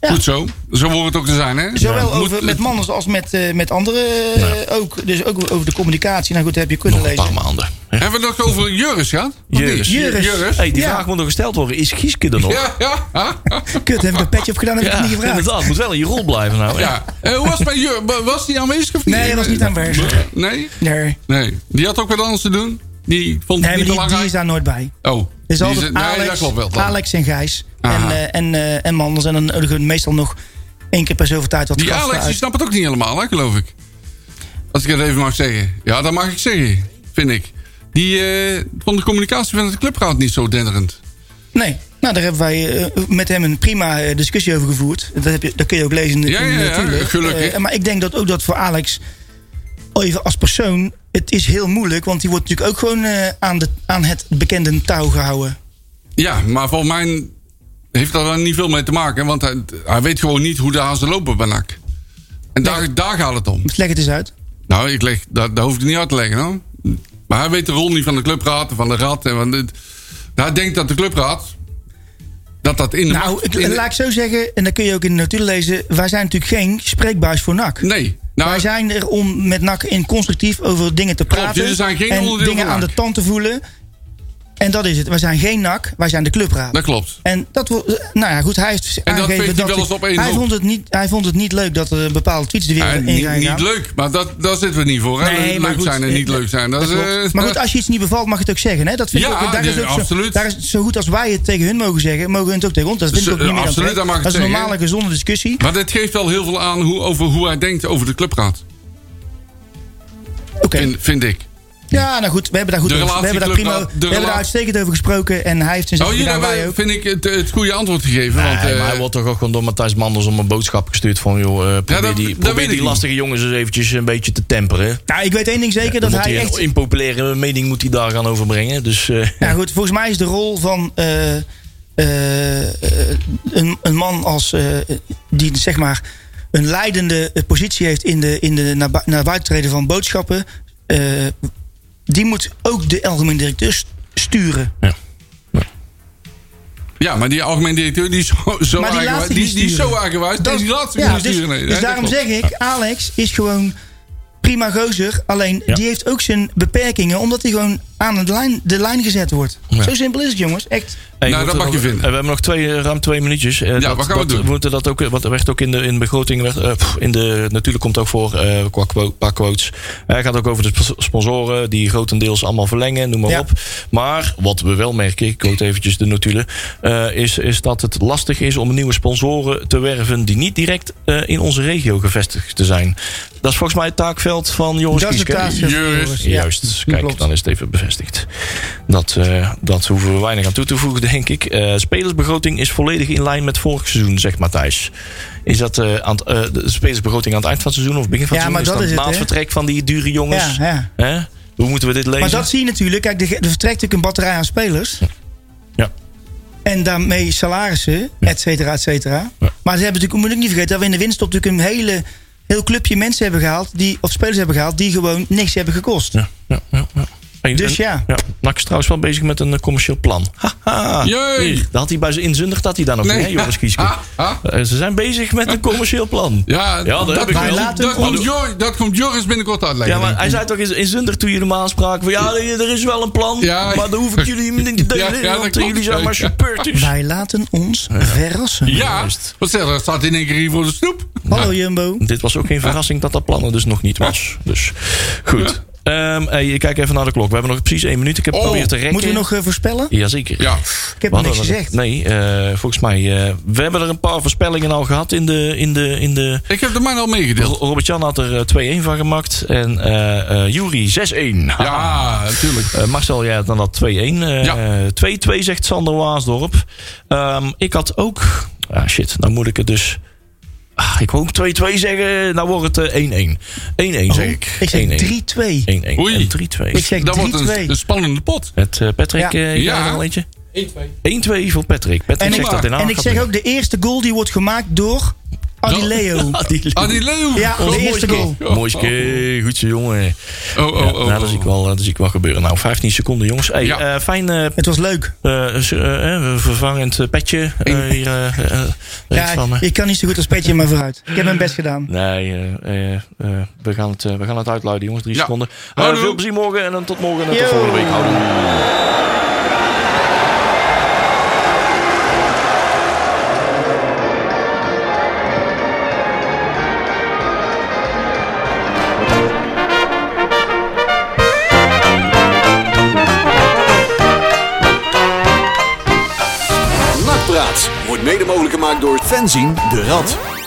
S5: Ja.
S6: Goed zo. Zo hoort het ook te zijn, hè?
S5: Zowel
S6: Moet-
S5: over, met mannen als met, eh, met anderen eh, ook. Dus ook over de communicatie. Nou goed, dat heb je kunnen
S4: Nog een
S5: lezen.
S4: paar maanden. hè?
S6: Hebben we het nog over Juris gehad? Of niet?
S4: Juris.
S5: Juris.
S6: Juris.
S4: Hey, die
S5: Ja.
S4: vraag moet nog gesteld worden. Is Gieske er nog?
S6: Ja, ja.
S5: Kut, heb ik een petje op gedaan? Heb ik
S4: Ja,
S5: het niet gevraagd?
S4: inderdaad. Moet wel in je rol blijven nou.
S6: ja. Eh, hoe was het bij Juris? Was die aanwezig of niet?
S5: Nee, hij was niet aanwezig.
S6: Nee?
S5: Nee.
S6: Nee. Die had ook wat anders te doen. Die vond het
S5: Nee, maar die,
S6: niet
S5: die
S6: belangrijk.
S5: is daar nooit bij.
S6: Oh.
S5: Er is
S6: die
S5: altijd
S6: zit- nee, dat
S5: Alex,
S6: klopt wel. dan.
S5: Alex en Gijs. En,
S6: Aha.
S5: eh, en, eh, en Manders. En dan nodigen we meestal nog één keer per zoveel tijd wat
S6: Die
S5: gasten
S6: Alex die
S5: uit.
S6: snapt het ook niet helemaal, hè, geloof ik. Als ik het even mag zeggen. Ja, dat mag ik zeggen, vind ik. Die eh, vond de communicatie van de clubraad niet zo denderend.
S5: Nee. Nou, daar hebben wij eh, met hem een prima eh, discussie over gevoerd. Dat, heb je, dat kun je ook lezen in de
S6: Ja,
S5: in
S6: ja,
S5: de
S6: ja,
S5: Tuurlijk.
S6: gelukkig.
S5: Eh, maar ik denk dat ook dat voor Alex, even als persoon, het is heel moeilijk. Want die wordt natuurlijk ook gewoon eh, aan, de, aan het bekende touw gehouden.
S6: Ja, maar volgens mij heeft dat dan niet veel mee te maken. Want hij, hij weet gewoon niet hoe de hazen lopen bij NAC. En daar, daar gaat het om.
S5: Leg het eens uit.
S6: Nou, ik leg, dat, dat hoef ik niet uit te leggen hoor. Maar hij weet de rol niet van de clubraad en van de rad. En van dit. Hij denkt dat de clubraad... Dat dat in de
S5: Nou,
S6: macht-
S5: ik-
S6: in de-
S5: laat ik zo zeggen, en dat kun je ook in de natuur lezen. Wij zijn natuurlijk geen spreekbuis voor NAC.
S6: Nee. Nou,
S5: Wij zijn er om met NAC in constructief over dingen te
S6: Klopt,
S5: praten.
S6: jullie zijn geen
S5: en
S6: onderdeel
S5: dingen
S6: van
S5: aan
S6: NAC.
S5: de tand te voelen. En dat is het. Wij zijn geen NAC, wij zijn de clubraad.
S6: dat klopt.
S5: En dat wo- nou ja, goed, hij heeft
S6: Nou- dat
S5: aangegeven
S6: veegt hij wel
S5: hij-
S6: eens op één
S5: hij
S6: hoop.
S5: vond het niet, hij vond het niet leuk dat er bepaalde tweets de
S6: Ja,
S5: wereld in
S6: niet,
S5: zijn
S6: niet
S5: gegaan.
S6: leuk, maar dat, daar zitten we niet voor. Hè?
S5: Nee,
S6: leuk
S5: maar goed,
S6: zijn en niet
S5: eh,
S6: leuk zijn. Dat, is,
S5: Klopt.
S6: eh,
S5: Maar goed, als je iets niet bevalt, mag je het ook zeggen. Hè? Dat vind ik
S6: Ja,
S5: ook, daar is
S6: nee,
S5: ook Zo,
S6: absoluut.
S5: daar is het zo goed als wij het tegen hun mogen zeggen, mogen hun het ook tegen ons. Dat vind
S6: Dus,
S5: ik ook niet
S6: eh,
S5: meer aan
S6: absoluut,
S5: terecht.
S6: dat mag ik
S5: Dat is een
S6: zeggen,
S5: normale, gezonde discussie.
S6: maar dit geeft wel heel veel aan hoe, over hoe hij denkt over de clubraad.
S5: Oké.
S6: Vind, vind ik.
S5: Ja, nou goed, we hebben daar goed
S6: De
S5: over. We
S6: relatie
S5: hebben daar
S6: club-
S5: prima,
S6: de
S5: we hebben daar
S6: relatie-
S5: uitstekend over gesproken en hij heeft zijn
S6: Nou,
S5: zin
S6: jullie
S5: gedaan, wij
S6: hebben,
S5: ook.
S6: vind ik, het, het goede antwoord gegeven. want,
S4: Nee,
S6: eh,
S4: maar hij wordt toch ook gewoon door Matthijs Manders om een boodschap gestuurd van... joh, eh, probeer
S6: dat-
S4: die,
S6: dat
S4: probeer
S6: weet ik
S4: die
S6: niet.
S4: lastige jongens eens eventjes een beetje te temperen. hè.
S5: Nou, ik weet één ding zeker,
S4: Dan
S5: dat
S4: moet hij
S5: hij
S4: een
S5: echt...
S4: impopulaire mening moet hij daar gaan overbrengen. Dus eh,
S5: Nou goed, volgens mij is de rol van eh, eh, eh, een, een man als, eh, die zeg maar een leidende eh, positie heeft in de, in de naar, bui- naar buiten treden van boodschappen... eh, die moet ook de algemeen directeur st- sturen.
S6: Ja, maar die algemeen directeur die is zo, zo
S5: Maar die laat
S6: eigenwijs.
S5: zich
S6: Die,
S5: niet
S6: die is zo
S5: sturen.
S6: eigenwijs. Dat, die laat zich
S5: ja,
S6: niet
S5: dus,
S6: sturen. Nee,
S5: dus
S6: hè, dat
S5: daarom
S6: klopt.
S5: zeg ik, Alex is gewoon prima gozer. Alleen
S4: Ja.
S5: die heeft ook zijn beperkingen, omdat hij gewoon aan het lijn, de lijn gezet wordt.
S4: Ja.
S5: Zo simpel is het, jongens. Echt.
S4: Hey,
S6: Nou,
S4: we
S6: dat
S4: moeten nog-
S6: mag je vinden.
S4: eh, We hebben nog twee, eh, ruim twee minuutjes. ja, dat,
S6: wat gaan we
S4: dat,
S6: doen?
S4: We moeten dat ook, eh, want er werd ook in de, in de begroting, werd, eh, pff, in de, natuurlijk komt het ook voor, eh, qua quo- paar quotes. Hij gaat ook over de sp- sponsoren, die grotendeels allemaal verlengen, noem maar
S5: Ja.
S4: op. Maar wat we wel merken, ik quote eventjes de notulen, eh, is, is dat het lastig is om nieuwe sponsoren te werven die niet direct eh, in onze regio gevestigd te zijn. Dat is volgens mij het taakveld van Joris
S5: Dat is het
S4: Kieske.
S5: taakveld van
S6: Juist.
S5: Joris. Ja.
S4: Juist, Dus kijk,
S5: klopt.
S4: dan is het even bevestigd. Dat, eh, dat hoeven we weinig aan toe te voegen, denk ik. Eh, spelersbegroting is volledig in lijn met vorig seizoen, zegt Matthijs. Is dat eh, aan het, eh, de spelersbegroting aan het eind van het seizoen of begin van het
S5: Ja,
S4: seizoen?
S5: maar dat
S4: dan
S5: is het,
S4: na
S5: hè?
S4: vertrek van die dure jongens?
S5: Ja, ja.
S4: Hè? Hoe moeten we dit lezen?
S5: Maar dat zie je natuurlijk. Kijk, er, ge- er vertrekt natuurlijk een batterij aan spelers.
S4: Ja.
S5: En En daarmee salarissen, et cetera, et cetera. Maar ze hebben natuurlijk, moet ik niet vergeten, dat we in de winst natuurlijk een hele, heel clubje mensen hebben gehaald, die, of spelers hebben gehaald, die gewoon niks hebben gekost.
S4: Ja, ja, ja. ja. En-
S5: Dus
S4: en-
S5: ja.
S4: ja. Nak is trouwens wel bezig met een eh, commercieel plan.
S6: Ah.
S4: Haha.
S6: Jee.
S4: Dat had hij bij zijn inzundig dat hij daar nog
S6: Nee.
S4: niet, hè, Joris Kieske.
S6: Ah, ah.
S4: Eh, ze zijn bezig met een commercieel plan.
S6: Ja,
S4: dat heb ik
S5: wij
S4: wel.
S5: laten
S6: dat,
S5: hem
S6: komt Joris, dat komt Joris binnenkort uitleggen.
S4: Ja, maar
S6: denk ik.
S4: hij zei toch eens inzundig toen jullie hem aanspraken van ja, er er is wel een plan,
S6: Ja.
S4: maar dan hoef ik jullie niet te delen,
S6: Ja, ja, dat
S4: want
S6: klopt.
S4: jullie zijn maar
S6: Ja.
S4: supporters.
S5: Wij laten ons verrassen.
S6: ja,
S4: Juist.
S6: wat zeg je, dat staat in één keer hier voor de snoep.
S5: Hallo Jumbo.
S4: Dit was ook geen verrassing dat dat plannen dus nog niet was. Dus goed. Ehm hey, je kijkt even naar de klok. We hebben nog precies één minuut. Ik heb
S6: Oh,
S4: geprobeerd te rekken.
S5: Moeten we nog eh, voorspellen?
S4: Jazeker.
S6: Ja.
S5: Ik heb
S4: We
S5: nog
S4: hadden
S5: niks
S4: er-
S5: gezegd.
S4: Nee, eh, volgens mij. eh, we hebben er een paar voorspellingen al gehad in de. In de, in de
S6: Ik heb de man al meegedeeld.
S4: Ro- Robert-Jan had er eh, 2-1 van gemaakt. En eh eh Jury 6-1.
S6: Ja, natuurlijk.
S4: Eh, Marcel, jij had dan dat 2-1. Eh,
S6: Ja.
S4: 2-2 zegt Sander Waasdorp. Ehm, ik had ook... Ah, shit, nou moet ik het dus... Ah, ik wou ook 2-2 zeggen. Nou wordt het eh, 1-1. 1-1 zeg ik.
S5: Oh, Ik zeg
S4: 1-1.
S5: 3-2.
S4: 1-1.
S6: Oei.
S4: En
S5: Ik
S4: 3-2.
S5: zeg
S6: Dat
S5: 3-2.
S6: wordt een, een spannende pot.
S4: Met eh, Patrick,
S5: Ja.
S4: eh jij
S6: Ja.
S4: er al eentje? 1-2 voor Patrick. Patrick
S5: En ik,
S4: zegt dat in
S5: en ik zeg ook, de eerste goal die wordt gemaakt door Adileo.
S6: Ah, die Leeuw.
S5: Ja,
S6: Oh,
S5: de
S6: mooi
S5: eerste goal.
S6: Oh,
S4: Mooi ske, goed zo jongen.
S6: Oh, oh,
S4: Ja,
S6: oh.
S4: nou, dat zie ik wel, dat zie ik wel gebeuren. Nou, 15 seconden jongens. Hey,
S6: Ja.
S4: eh, fijn eh,
S5: Het was leuk.
S4: eh, s- eh, eh, vervangend eh, petje eh, hier eh, eh, rechts van me.
S5: Ja, ik kan niet zo goed als Petje, maar vooruit. Ik heb mijn best gedaan.
S4: Nee, eh, eh, eh, we, gaan het, eh, we gaan het uitluiden, jongens. Drie
S6: Ja.
S4: seconden. Eh,
S6: Houdoe.
S4: veel plezier morgen en dan tot morgen en
S5: Yo.
S4: tot volgende week. Houdoe.
S3: Nakpraat wordt mede mogelijk gemaakt door Fenzin de Rad.